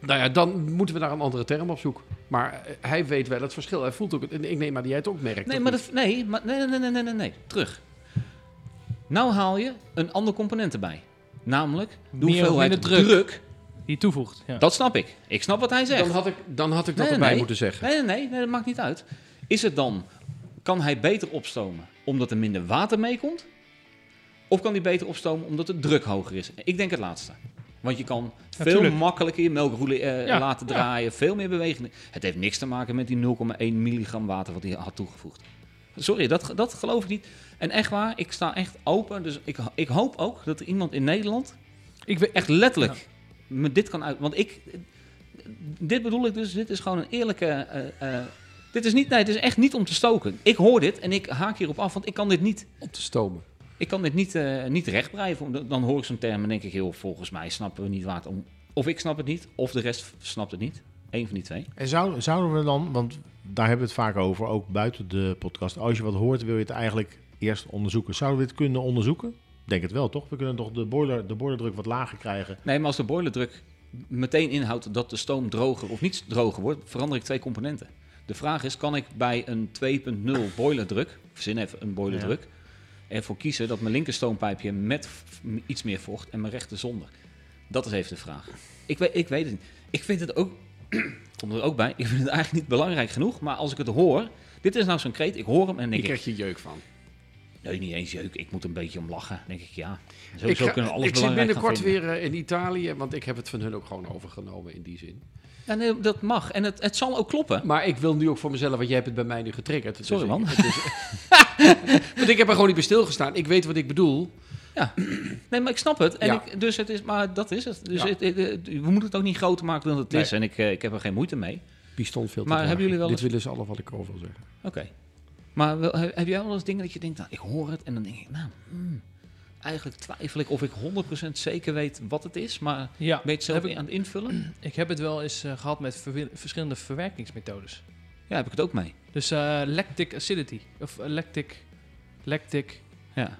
[SPEAKER 2] Nou ja, dan moeten we naar een andere term op zoek. Maar eh, hij weet wel het verschil. Hij voelt ook het. en Ik neem aan dat jij het ook merkt.
[SPEAKER 1] Nee,
[SPEAKER 2] of
[SPEAKER 1] maar
[SPEAKER 2] niet?
[SPEAKER 1] dat, nee, maar nee, nee, nee, nee, nee, nee, nee. Terug. Nou haal je een ander component erbij. Namelijk, de
[SPEAKER 3] Meer of
[SPEAKER 1] hoeveelheid
[SPEAKER 3] minder druk.
[SPEAKER 1] druk.
[SPEAKER 3] Die toevoegt. Ja.
[SPEAKER 1] Dat snap ik. Ik snap wat hij zegt.
[SPEAKER 2] dan, had ik, dan had ik dat
[SPEAKER 1] Nee,
[SPEAKER 2] erbij
[SPEAKER 1] nee.
[SPEAKER 2] moeten zeggen.
[SPEAKER 1] Nee, nee, nee, nee, dat maakt niet uit. Is het dan, kan hij beter opstomen omdat er minder water meekomt? Of kan hij beter opstomen omdat de druk hoger is? Ik denk het laatste. Want je kan veel
[SPEAKER 3] Natuurlijk.
[SPEAKER 1] makkelijker je melkroelen eh,
[SPEAKER 3] Ja,
[SPEAKER 1] laten draaien, veel meer beweging. Het heeft niks te maken met die 0,1 milligram water wat hij had toegevoegd. Sorry, dat, dat geloof ik niet. En echt waar, ik sta echt open. Dus ik, ik hoop ook dat er iemand in Nederland
[SPEAKER 3] Ik weet
[SPEAKER 1] echt letterlijk me dit kan uit. Want ik, dit bedoel ik dus, dit is gewoon een eerlijke. eh, eh, dit is niet, nee, het is echt niet om te stoken. Ik hoor dit en ik haak hierop af, want ik kan dit niet,
[SPEAKER 2] Om te stomen.
[SPEAKER 1] ik kan dit niet, eh niet rechtblijven. Dan- Dan hoor ik zo'n term en denk ik, joh, volgens mij snappen we niet waar het om. Of ik snap het niet, of de rest snapt het niet. Eén van die twee.
[SPEAKER 4] En zou, zouden we dan, want daar hebben we het vaak over, ook buiten de podcast. Als je wat hoort, wil je het eigenlijk eerst onderzoeken. Zouden we dit kunnen onderzoeken? Ik Denk het wel, toch? We kunnen toch de, boiler, de boilerdruk wat lager krijgen.
[SPEAKER 1] Nee, maar als de boilerdruk meteen inhoudt dat de stoom droger of niet droger wordt, verander ik twee componenten. De vraag is, kan ik bij een 2.0 boilerdruk, verzin even een boilerdruk, ervoor kiezen dat mijn linker stoompijpje met v- iets meer vocht en mijn rechter zonder? Dat is even de vraag. Ik weet, ik weet het niet. Ik vind het ook, komt er ook bij, ik vind het eigenlijk niet belangrijk genoeg, maar als ik het hoor, dit is nou zo'n kreet, ik hoor hem en
[SPEAKER 2] Hier
[SPEAKER 1] denk ik,
[SPEAKER 2] krijg je jeuk van.
[SPEAKER 1] nee, niet eens jeuk, ik moet een beetje om lachen. Dan denk ik, ja, sowieso
[SPEAKER 2] Ik, ga-
[SPEAKER 1] kunnen we alles
[SPEAKER 2] ik zit
[SPEAKER 1] belangrijk gaan
[SPEAKER 2] binnenkort
[SPEAKER 1] vinden.
[SPEAKER 2] weer eh, in Italië, want ik heb het van hun ook gewoon overgenomen in die zin.
[SPEAKER 1] Ja, nee, dat mag en het, het zal ook kloppen.
[SPEAKER 2] Maar ik wil nu ook voor mezelf, want jij hebt het bij mij nu getriggerd. Dus
[SPEAKER 1] Sorry
[SPEAKER 2] ik-
[SPEAKER 1] man.
[SPEAKER 2] Want ik heb er gewoon niet bij stilgestaan. Ik weet wat ik bedoel.
[SPEAKER 1] Nee, maar ik snap het. En
[SPEAKER 2] Ja.
[SPEAKER 1] ik, dus het is, maar dat is het. Dus
[SPEAKER 2] Ja.
[SPEAKER 1] het- het- het- we moeten het ook niet groter maken dan het
[SPEAKER 2] Nee.
[SPEAKER 1] is. En ik, eh, ik heb er geen moeite mee.
[SPEAKER 2] Piston veel te
[SPEAKER 1] Maar
[SPEAKER 2] dragen.
[SPEAKER 1] hebben jullie wel
[SPEAKER 2] Dit
[SPEAKER 1] eens-
[SPEAKER 2] willen ze allemaal wat ik over wil zeggen.
[SPEAKER 1] Oké. Maar wel, he- heb jij wel eens dingen dat je denkt, nou, ik hoor het en dan denk ik, nou, hmm, eigenlijk twijfel ik of ik 100% zeker weet wat het is, maar
[SPEAKER 3] Ja,
[SPEAKER 1] ben je het zelf
[SPEAKER 3] heb ik-
[SPEAKER 1] aan het invullen?
[SPEAKER 3] Ik heb het wel eens eh, gehad met verwi- verschillende verwerkingsmethodes.
[SPEAKER 1] Ja, heb ik het ook mee.
[SPEAKER 3] Dus eh, lactic acidity. Of eh, lactic... Lactic...
[SPEAKER 1] Ja.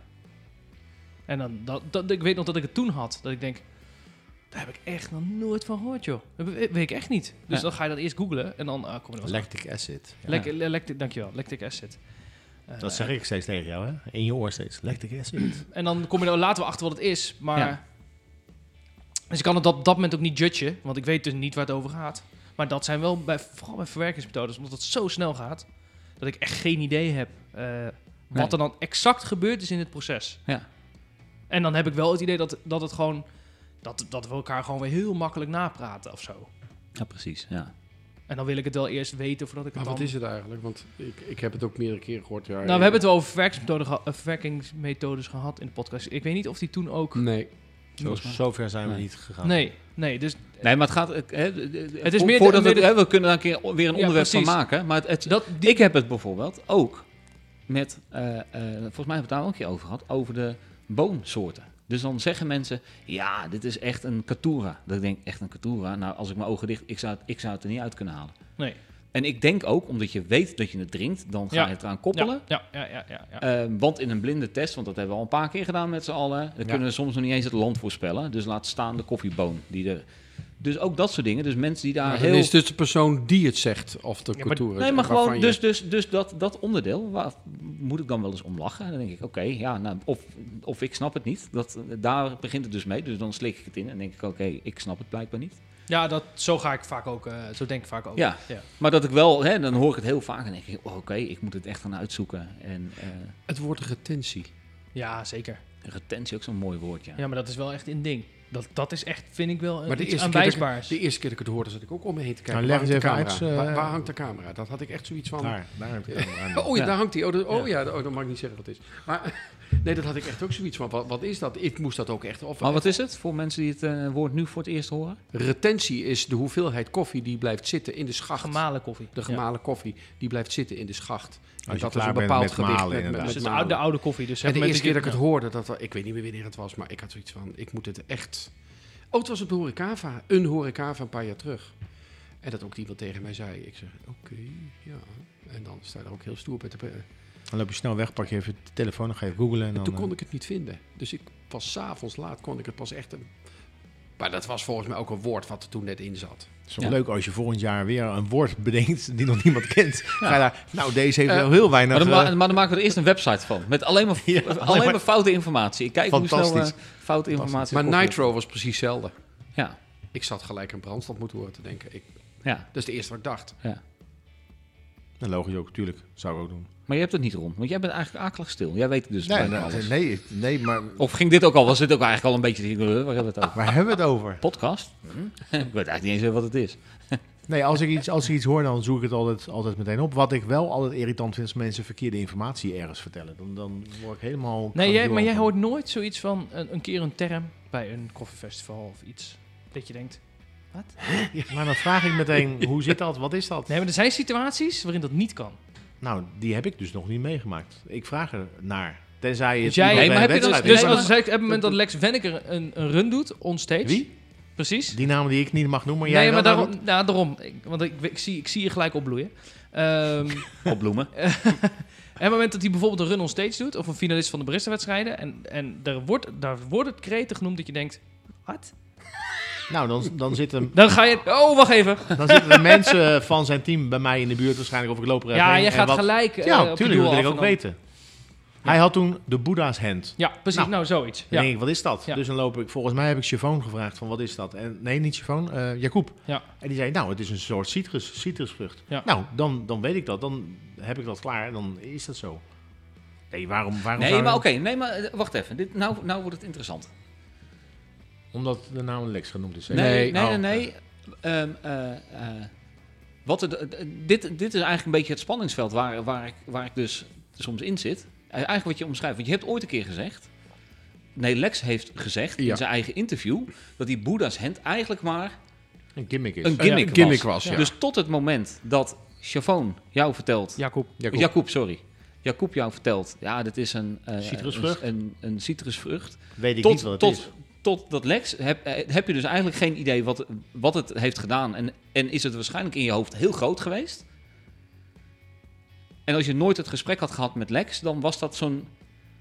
[SPEAKER 3] En dan, dat, dat, ik weet nog dat ik het toen had. Dat ik denk, daar heb ik echt nog nooit van gehoord, joh. Dat we- weet ik echt niet. Dus
[SPEAKER 1] Ja.
[SPEAKER 3] dan ga je dat eerst googlen en dan ah, kom je er wel.
[SPEAKER 4] Lactic acid.
[SPEAKER 3] Lec- le- Lactic, dankjewel. Lactic acid. Eh,
[SPEAKER 4] Dat zeg ik steeds tegen jou, hè? In je oor steeds. Lactic acid.
[SPEAKER 3] En dan kom je er later wel achter wat het is. Maar...
[SPEAKER 1] Ja.
[SPEAKER 3] Dus ik kan het op dat moment ook niet judgen. Want ik weet dus niet waar het over gaat. Maar dat zijn wel, bij, vooral bij verwerkingsmethodes, omdat het zo snel gaat... dat ik echt geen idee heb eh,
[SPEAKER 1] Nee.
[SPEAKER 3] wat er dan exact gebeurd is in het proces.
[SPEAKER 1] Ja.
[SPEAKER 3] En dan heb ik wel het idee dat, dat het gewoon... Dat, dat we elkaar gewoon weer heel makkelijk napraten of zo.
[SPEAKER 1] ja, precies. Ja.
[SPEAKER 3] En dan wil ik het wel eerst weten voordat ik het
[SPEAKER 2] Maar wat
[SPEAKER 3] dan-
[SPEAKER 2] is het eigenlijk? Want ik, ik heb het ook meerdere keren gehoord. Ja,
[SPEAKER 3] Nou, we hebben het wel over verwerkingsmethoden geha- eh, verwerkingsmethodes gehad in de podcast. Ik weet niet of die toen ook...
[SPEAKER 2] Nee.
[SPEAKER 4] Zo, zover zijn we
[SPEAKER 1] Nee.
[SPEAKER 4] niet gegaan.
[SPEAKER 3] Nee, nee, dus
[SPEAKER 1] Nee, maar het gaat... Het,
[SPEAKER 3] Het
[SPEAKER 1] is
[SPEAKER 3] is meer
[SPEAKER 1] meer
[SPEAKER 3] de-
[SPEAKER 1] voordat
[SPEAKER 3] meer
[SPEAKER 1] het-
[SPEAKER 3] de-
[SPEAKER 1] hè, we kunnen daar een keer weer een
[SPEAKER 3] Ja,
[SPEAKER 1] onderwerp van
[SPEAKER 3] precies.
[SPEAKER 1] maken, maar het, het,
[SPEAKER 3] dat, die,
[SPEAKER 1] Ik heb het bijvoorbeeld ook met, eh, eh, volgens mij hebben we het daar ook een keer over gehad, over de boomsoorten. Dus dan zeggen mensen, ja, dit is echt een katura. Dat ik denk, echt een katura? Nou, als ik mijn ogen dicht, ik zou, het- ik zou het er niet uit kunnen halen.
[SPEAKER 3] nee.
[SPEAKER 1] En ik denk ook, omdat je weet dat je het drinkt, dan ga
[SPEAKER 3] Ja.
[SPEAKER 1] je het eraan koppelen.
[SPEAKER 3] Ja, ja, ja, ja. ja, ja.
[SPEAKER 1] Eh, want in een blinde test, want dat hebben we al een paar keer gedaan met z'n allen, dan kunnen we soms nog niet eens het land voorspellen. Dus laat staan de koffieboon. Die er... Dus ook dat soort dingen. Dus mensen die daar
[SPEAKER 2] Maar
[SPEAKER 1] heel...
[SPEAKER 2] dan is dus de persoon die het zegt of de
[SPEAKER 3] Ja, maar-
[SPEAKER 2] cultuur is.
[SPEAKER 1] Nee, maar
[SPEAKER 2] waarvan
[SPEAKER 1] gewoon,
[SPEAKER 2] je-
[SPEAKER 1] dus, dus, dus dat, dat onderdeel, waar moet ik dan wel eens om lachen? Dan denk ik, oké, ja, nou, of, of ik snap het niet. Dat, daar begint het dus mee, dus dan slik ik het in en denk ik, oké, ik snap het blijkbaar niet.
[SPEAKER 3] Ja, dat, zo ga ik vaak ook, eh, zo denk ik vaak ook.
[SPEAKER 1] Ja.
[SPEAKER 3] ja.
[SPEAKER 1] Maar dat ik wel, hè, dan hoor ik het heel vaak en denk ik, oh, oké, ik moet het echt gaan uitzoeken. En eh,
[SPEAKER 2] Het woord retentie.
[SPEAKER 3] Ja, zeker.
[SPEAKER 1] retentie ook zo'n mooi woord, ja.
[SPEAKER 3] Ja, maar dat is wel echt een ding. Dat, dat is echt, vind ik wel, eh,
[SPEAKER 2] Maar de
[SPEAKER 3] iets
[SPEAKER 2] eerste keer dat ik-
[SPEAKER 3] aanwijsbaars.
[SPEAKER 2] De eerste keer dat ik het hoorde, zat ik ook om me heen te kijken.
[SPEAKER 4] Nou, leg
[SPEAKER 2] waar,
[SPEAKER 4] eens
[SPEAKER 2] hangt de
[SPEAKER 4] even
[SPEAKER 2] camera?
[SPEAKER 4] uit, eh,
[SPEAKER 2] waar, waar hangt de camera? Dat had ik echt zoiets van...
[SPEAKER 4] Daar, daar heb je het aan.
[SPEAKER 2] Oh ja,
[SPEAKER 1] Ja.
[SPEAKER 2] daar hangt die. Oh, dat, oh ja, oh, dan mag ik niet zeggen wat het is. Maar nee, dat had ik echt ook zoiets van. Wat, wat is dat? Ik moest dat ook echt... Of,
[SPEAKER 1] Maar wat is het voor mensen die het eh, woord nu voor het eerst horen?
[SPEAKER 2] Retentie is de hoeveelheid koffie die blijft zitten in de schacht.
[SPEAKER 3] gemalen koffie.
[SPEAKER 2] De gemalen koffie, die blijft zitten in de schacht. En
[SPEAKER 4] je
[SPEAKER 2] dat
[SPEAKER 4] klaar
[SPEAKER 2] is een
[SPEAKER 4] bent
[SPEAKER 2] bepaald
[SPEAKER 4] met
[SPEAKER 2] gewicht.
[SPEAKER 4] malen,
[SPEAKER 2] met- met-
[SPEAKER 4] inderdaad.
[SPEAKER 2] met
[SPEAKER 3] Dus het is de
[SPEAKER 2] malen.
[SPEAKER 3] oude, de oude koffie. Dus
[SPEAKER 2] en de eerste keer dat ik het
[SPEAKER 3] hoor.
[SPEAKER 2] hoorde, dat, wa- ik weet niet meer wanneer het was, maar ik had zoiets van, ik moet het echt... Oh, het was op de Horecava, een Horecava een paar jaar terug. En dat ook iemand tegen mij zei. Ik zeg, oké, ja. En dan sta je er ook heel stoer bij te... be-
[SPEAKER 4] Dan loop je snel weg, pak je even de telefoon, dan ga je googlen. En dan, eh,
[SPEAKER 2] Toen kon ik het niet vinden. Dus ik pas s'avonds laat kon ik het pas echt... Een... Maar dat was volgens mij ook een woord wat er toen net in zat.
[SPEAKER 4] Het is wel
[SPEAKER 1] Ja.
[SPEAKER 4] leuk als je volgend jaar weer een woord bedenkt die nog niemand kent. Ga je daar, nou, deze heeft
[SPEAKER 2] Eh,
[SPEAKER 4] wel heel weinig...
[SPEAKER 1] Maar dan,
[SPEAKER 4] eh,
[SPEAKER 1] ma- maar dan maken we er eerst een website van, met alleen maar,
[SPEAKER 4] Ja,
[SPEAKER 1] alleen
[SPEAKER 4] alleen
[SPEAKER 1] maar,
[SPEAKER 4] maar-
[SPEAKER 1] foute informatie. Ik kijk hoe snel eh
[SPEAKER 4] Fantastisch.
[SPEAKER 1] foute informatie...
[SPEAKER 2] Maar
[SPEAKER 1] opkomt.
[SPEAKER 2] Nitro was precies hetzelfde.
[SPEAKER 1] Ja,
[SPEAKER 2] Ik zat gelijk aan brandstof moeten horen te denken. Ik,
[SPEAKER 1] ja,
[SPEAKER 2] dat is de eerste wat ik dacht.
[SPEAKER 1] ja.
[SPEAKER 4] nou, logisch ook, tuurlijk. Zou ik ook doen.
[SPEAKER 1] Maar je hebt het niet rond, want jij bent eigenlijk akelig stil. Jij weet het dus
[SPEAKER 4] Nee,
[SPEAKER 1] bijna
[SPEAKER 4] nee,
[SPEAKER 1] alles.
[SPEAKER 4] nee, ik- nee, maar
[SPEAKER 1] Of ging dit ook al? Was dit ook eigenlijk al een beetje... die- eh, Waar hebben we het over?
[SPEAKER 4] waar hebben we het over?
[SPEAKER 1] Podcast?
[SPEAKER 4] Mhm.
[SPEAKER 1] ik weet eigenlijk niet eens wat het is.
[SPEAKER 4] Nee, als ik iets, als ik iets hoor, dan zoek ik het altijd, altijd meteen op. Wat ik wel altijd irritant vind, is als mensen verkeerde informatie ergens vertellen. Dan, dan word ik helemaal...
[SPEAKER 3] Nee, jij, maar jij
[SPEAKER 4] van.
[SPEAKER 3] hoort nooit zoiets van een, een keer een term bij een koffiefestival of iets. Dat je denkt.
[SPEAKER 4] Maar dan vraag ik meteen, hoe zit dat? Wat is dat?
[SPEAKER 3] Nee, maar er zijn situaties waarin dat niet kan.
[SPEAKER 4] Nou, die heb ik dus nog niet meegemaakt. Ik vraag er naar. Tenzij het
[SPEAKER 3] Dus jij-
[SPEAKER 4] iemand
[SPEAKER 1] Nee, maar
[SPEAKER 4] bij
[SPEAKER 1] heb
[SPEAKER 4] een
[SPEAKER 1] je
[SPEAKER 3] Dus,
[SPEAKER 1] dat-
[SPEAKER 4] wedstrijd
[SPEAKER 3] dus
[SPEAKER 4] is.
[SPEAKER 1] maar-
[SPEAKER 3] als op het moment dat Lex Wenneker een, een run doet, onstage.
[SPEAKER 4] Wie?
[SPEAKER 3] Precies.
[SPEAKER 4] Die namen die ik niet mag noemen, jij
[SPEAKER 3] nee, maar
[SPEAKER 4] wel,
[SPEAKER 3] daarom, nou, daarom. Ik- want ik, ik, zie, ik zie je gelijk opbloeien. Ehm,
[SPEAKER 1] Opbloemen.
[SPEAKER 3] op het moment dat hij bijvoorbeeld een run on stage doet, of een finalist van de barista-wedstrijden, en, en daar, wordt, daar wordt het kreten genoemd dat je denkt, wat?
[SPEAKER 4] Nou, dan, dan, zitten,
[SPEAKER 3] Dan ga je, oh, wacht even.
[SPEAKER 4] dan zitten de mensen van zijn team bij mij in de buurt waarschijnlijk of ik loop er even
[SPEAKER 3] Ja,
[SPEAKER 4] heen
[SPEAKER 3] jij
[SPEAKER 4] en
[SPEAKER 3] gaat
[SPEAKER 4] wat-
[SPEAKER 3] gelijk. eh, op
[SPEAKER 4] Ja,
[SPEAKER 3] je
[SPEAKER 4] tuurlijk,
[SPEAKER 3] doel
[SPEAKER 4] dat wil ik
[SPEAKER 3] af en
[SPEAKER 4] ook
[SPEAKER 3] dan-
[SPEAKER 4] weten. Hij had toen de Boeddha's hand.
[SPEAKER 3] Ja, precies. Nou,
[SPEAKER 4] Nou.
[SPEAKER 3] zoiets.
[SPEAKER 4] Dan
[SPEAKER 3] Ja.
[SPEAKER 4] denk ik, wat is dat?
[SPEAKER 3] Ja.
[SPEAKER 4] Dus dan loop ik, volgens mij heb ik Siobhan gevraagd van wat is dat? En, nee, niet Siobhan, eh Jacob.
[SPEAKER 3] Ja.
[SPEAKER 4] En die zei, nou, het is een soort citrus, citrusvrucht.
[SPEAKER 3] Ja.
[SPEAKER 4] Nou, dan, dan weet ik dat, dan heb ik dat klaar, dan is dat zo. Nee, waarom? waarom
[SPEAKER 1] Nee,
[SPEAKER 4] zou-
[SPEAKER 1] maar oké. nee, maar eh, wacht even. Dit, nou, nou wordt het interessant.
[SPEAKER 4] Omdat de naam Lex genoemd is. hè?
[SPEAKER 1] Nee, nee,
[SPEAKER 4] Oh.
[SPEAKER 1] nee. nee. Ehm, eh, eh, wat er, eh, dit, dit is eigenlijk een beetje het spanningsveld waar, waar, ik, waar ik dus soms in zit. Eh, Eigenlijk wat je omschrijft. Want je hebt ooit een keer gezegd... Nee, Lex heeft gezegd
[SPEAKER 2] Ja.
[SPEAKER 1] in zijn eigen interview... dat die Boeddha's hand eigenlijk maar
[SPEAKER 4] Een gimmick is.
[SPEAKER 1] een gimmick,
[SPEAKER 2] gimmick
[SPEAKER 1] was.
[SPEAKER 2] was, ja.
[SPEAKER 1] Dus tot het moment dat Chafoon jou vertelt...
[SPEAKER 3] Jacob.
[SPEAKER 2] Jacob.
[SPEAKER 1] Jacob, sorry. Jacob jou vertelt... Ja, dit is een, eh,
[SPEAKER 4] Citrusvrucht.
[SPEAKER 1] Een, een, een citrusvrucht
[SPEAKER 4] weet ik niet wat
[SPEAKER 1] tot,
[SPEAKER 4] het
[SPEAKER 1] tot,
[SPEAKER 4] is.
[SPEAKER 1] tot dat Lex heb, eh, heb je dus eigenlijk geen idee wat, wat het heeft gedaan. En, en is het waarschijnlijk in je hoofd heel groot geweest. En als je nooit het gesprek had gehad met Lex, dan was dat zo'n
[SPEAKER 3] Ding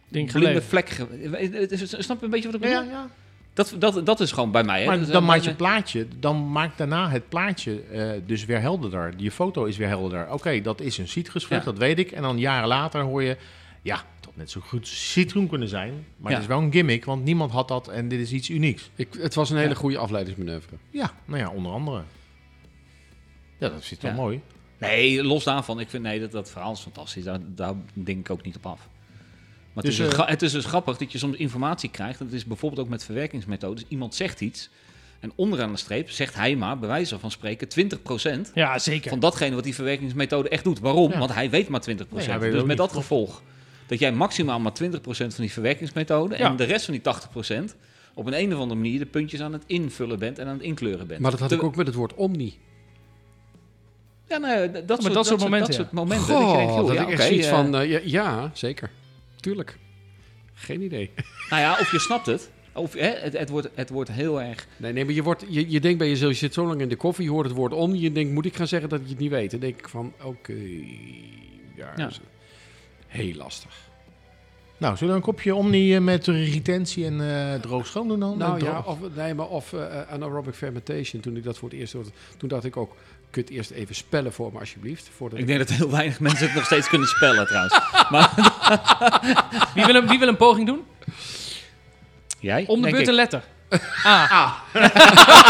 [SPEAKER 1] blinde
[SPEAKER 3] geleden.
[SPEAKER 1] vlek. ge- eh, het is- Snap je een beetje wat ik
[SPEAKER 4] Ja,
[SPEAKER 1] bedoel?
[SPEAKER 4] ja, ja.
[SPEAKER 1] Dat, dat, dat is gewoon bij mij. Hè? Dat
[SPEAKER 4] Maar
[SPEAKER 1] is,
[SPEAKER 4] dan
[SPEAKER 1] eh,
[SPEAKER 4] maakt je
[SPEAKER 1] mijn-
[SPEAKER 4] plaatje, dan maakt daarna het plaatje eh, dus weer helderder. Je foto is weer helderder. Oké, dat is een citrusvrucht,
[SPEAKER 1] Ja.
[SPEAKER 4] dat weet ik. En dan jaren later hoor je, ja, dat had net zo goed citroen kunnen zijn. Maar
[SPEAKER 1] Ja.
[SPEAKER 4] het is wel een gimmick, want niemand had dat en dit is iets unieks.
[SPEAKER 2] Ik, het was een hele goede afleidingsmanoeuvre.
[SPEAKER 4] Ja, nou ja, onder andere. Ja, dat zit wel
[SPEAKER 1] Ja.
[SPEAKER 4] mooi.
[SPEAKER 1] Nee, los daarvan. Ik vind nee, dat, dat verhaal is fantastisch. Daar, daar denk ik ook niet op af. Maar het,
[SPEAKER 4] Dus,
[SPEAKER 1] is dus,
[SPEAKER 4] eh,
[SPEAKER 1] gra- het is dus grappig dat je soms informatie krijgt. Dat is bijvoorbeeld ook met verwerkingsmethodes. Iemand zegt iets. En onderaan de streep zegt hij maar, bij wijze van spreken, 20%
[SPEAKER 3] Ja, zeker.
[SPEAKER 1] van datgene wat die verwerkingsmethode echt doet. Waarom?
[SPEAKER 4] Ja.
[SPEAKER 1] Want hij weet maar 20%.
[SPEAKER 4] Nee, hij weet
[SPEAKER 1] dus
[SPEAKER 4] ook
[SPEAKER 1] met
[SPEAKER 4] niet.
[SPEAKER 1] dat gevolg dat jij maximaal maar 20% van die verwerkingsmethode
[SPEAKER 3] Ja.
[SPEAKER 1] en de rest van die 80% op een, een of andere manier de puntjes aan het invullen bent en aan het inkleuren bent.
[SPEAKER 2] Maar dat had
[SPEAKER 1] Te-
[SPEAKER 2] ik ook met het woord omni.
[SPEAKER 1] Ja, nee, dat, soort,
[SPEAKER 3] dat soort momenten,
[SPEAKER 1] Dat soort momenten. dat je denkt,
[SPEAKER 2] Goh,
[SPEAKER 1] joh,
[SPEAKER 2] dat
[SPEAKER 1] ja,
[SPEAKER 2] ik echt
[SPEAKER 1] oké,
[SPEAKER 2] zoiets
[SPEAKER 1] eh,
[SPEAKER 2] van... eh, ja, ja, zeker. Tuurlijk. Geen idee.
[SPEAKER 1] Nou ja, of je snapt het. Of, hè, het, het, wordt, het wordt heel erg...
[SPEAKER 2] Nee, nee maar je, wordt, je, je denkt bij jezelf, je zit zo lang in de koffie, je hoort het woord omni, je denkt, moet ik gaan zeggen dat je het niet weet? Dan denk ik van, oké, ja,
[SPEAKER 1] Ja.
[SPEAKER 2] is- heel lastig.
[SPEAKER 4] Nou, zullen we een kopje Omni eh, met retentie en eh droog schoon doen dan?
[SPEAKER 2] Nou
[SPEAKER 4] Eh,
[SPEAKER 2] ja,
[SPEAKER 4] droog-
[SPEAKER 2] of, nee, maar of eh, eh, anaerobic fermentation, toen ik dat voor het eerst hoorde, toen dacht ik ook, kun je het eerst even spellen voor me alsjeblieft? Voordat
[SPEAKER 1] Ik
[SPEAKER 2] ik
[SPEAKER 1] denk dat heel weinig mensen het nog steeds kunnen spellen trouwens.
[SPEAKER 3] Wie, wil een, wie wil een poging doen?
[SPEAKER 1] Jij?
[SPEAKER 3] Om de
[SPEAKER 1] Denk
[SPEAKER 3] beurt
[SPEAKER 1] ik.
[SPEAKER 3] een letter. A.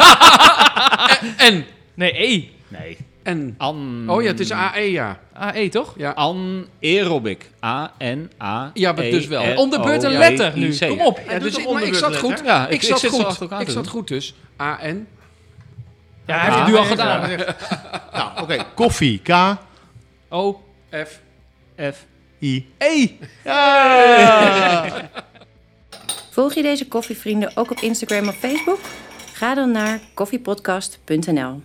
[SPEAKER 2] en,
[SPEAKER 3] Nee, E.
[SPEAKER 1] Nee.
[SPEAKER 2] en,
[SPEAKER 1] An...
[SPEAKER 2] oh ja, het is AE, ja.
[SPEAKER 3] A, E, toch?
[SPEAKER 2] Ja,
[SPEAKER 1] Anaerobic. A-N-A.
[SPEAKER 2] Ja, maar dus wel.
[SPEAKER 3] Om de
[SPEAKER 1] Oh,
[SPEAKER 3] beurt een letter nu. Kom op.
[SPEAKER 2] Ja, dus
[SPEAKER 4] doet
[SPEAKER 2] ik,
[SPEAKER 4] hem
[SPEAKER 2] maar ik zat
[SPEAKER 4] onderbeurt,
[SPEAKER 2] goed.
[SPEAKER 1] hè? Ja,
[SPEAKER 2] ik,
[SPEAKER 1] ik- ik
[SPEAKER 2] zat
[SPEAKER 1] zit ze
[SPEAKER 2] goed.
[SPEAKER 1] achter elkaar
[SPEAKER 2] ik
[SPEAKER 1] te
[SPEAKER 2] zat
[SPEAKER 1] doen.
[SPEAKER 2] goed dus. AN.
[SPEAKER 3] Ja, hij heeft het nu al gedaan.
[SPEAKER 4] Nou, oké. Koffie, K,
[SPEAKER 3] O,
[SPEAKER 2] F.
[SPEAKER 1] F.
[SPEAKER 4] I.
[SPEAKER 3] E.
[SPEAKER 5] Volg je deze koffievrienden ook op Instagram of Facebook? Ga dan naar koffiepodcast.nl.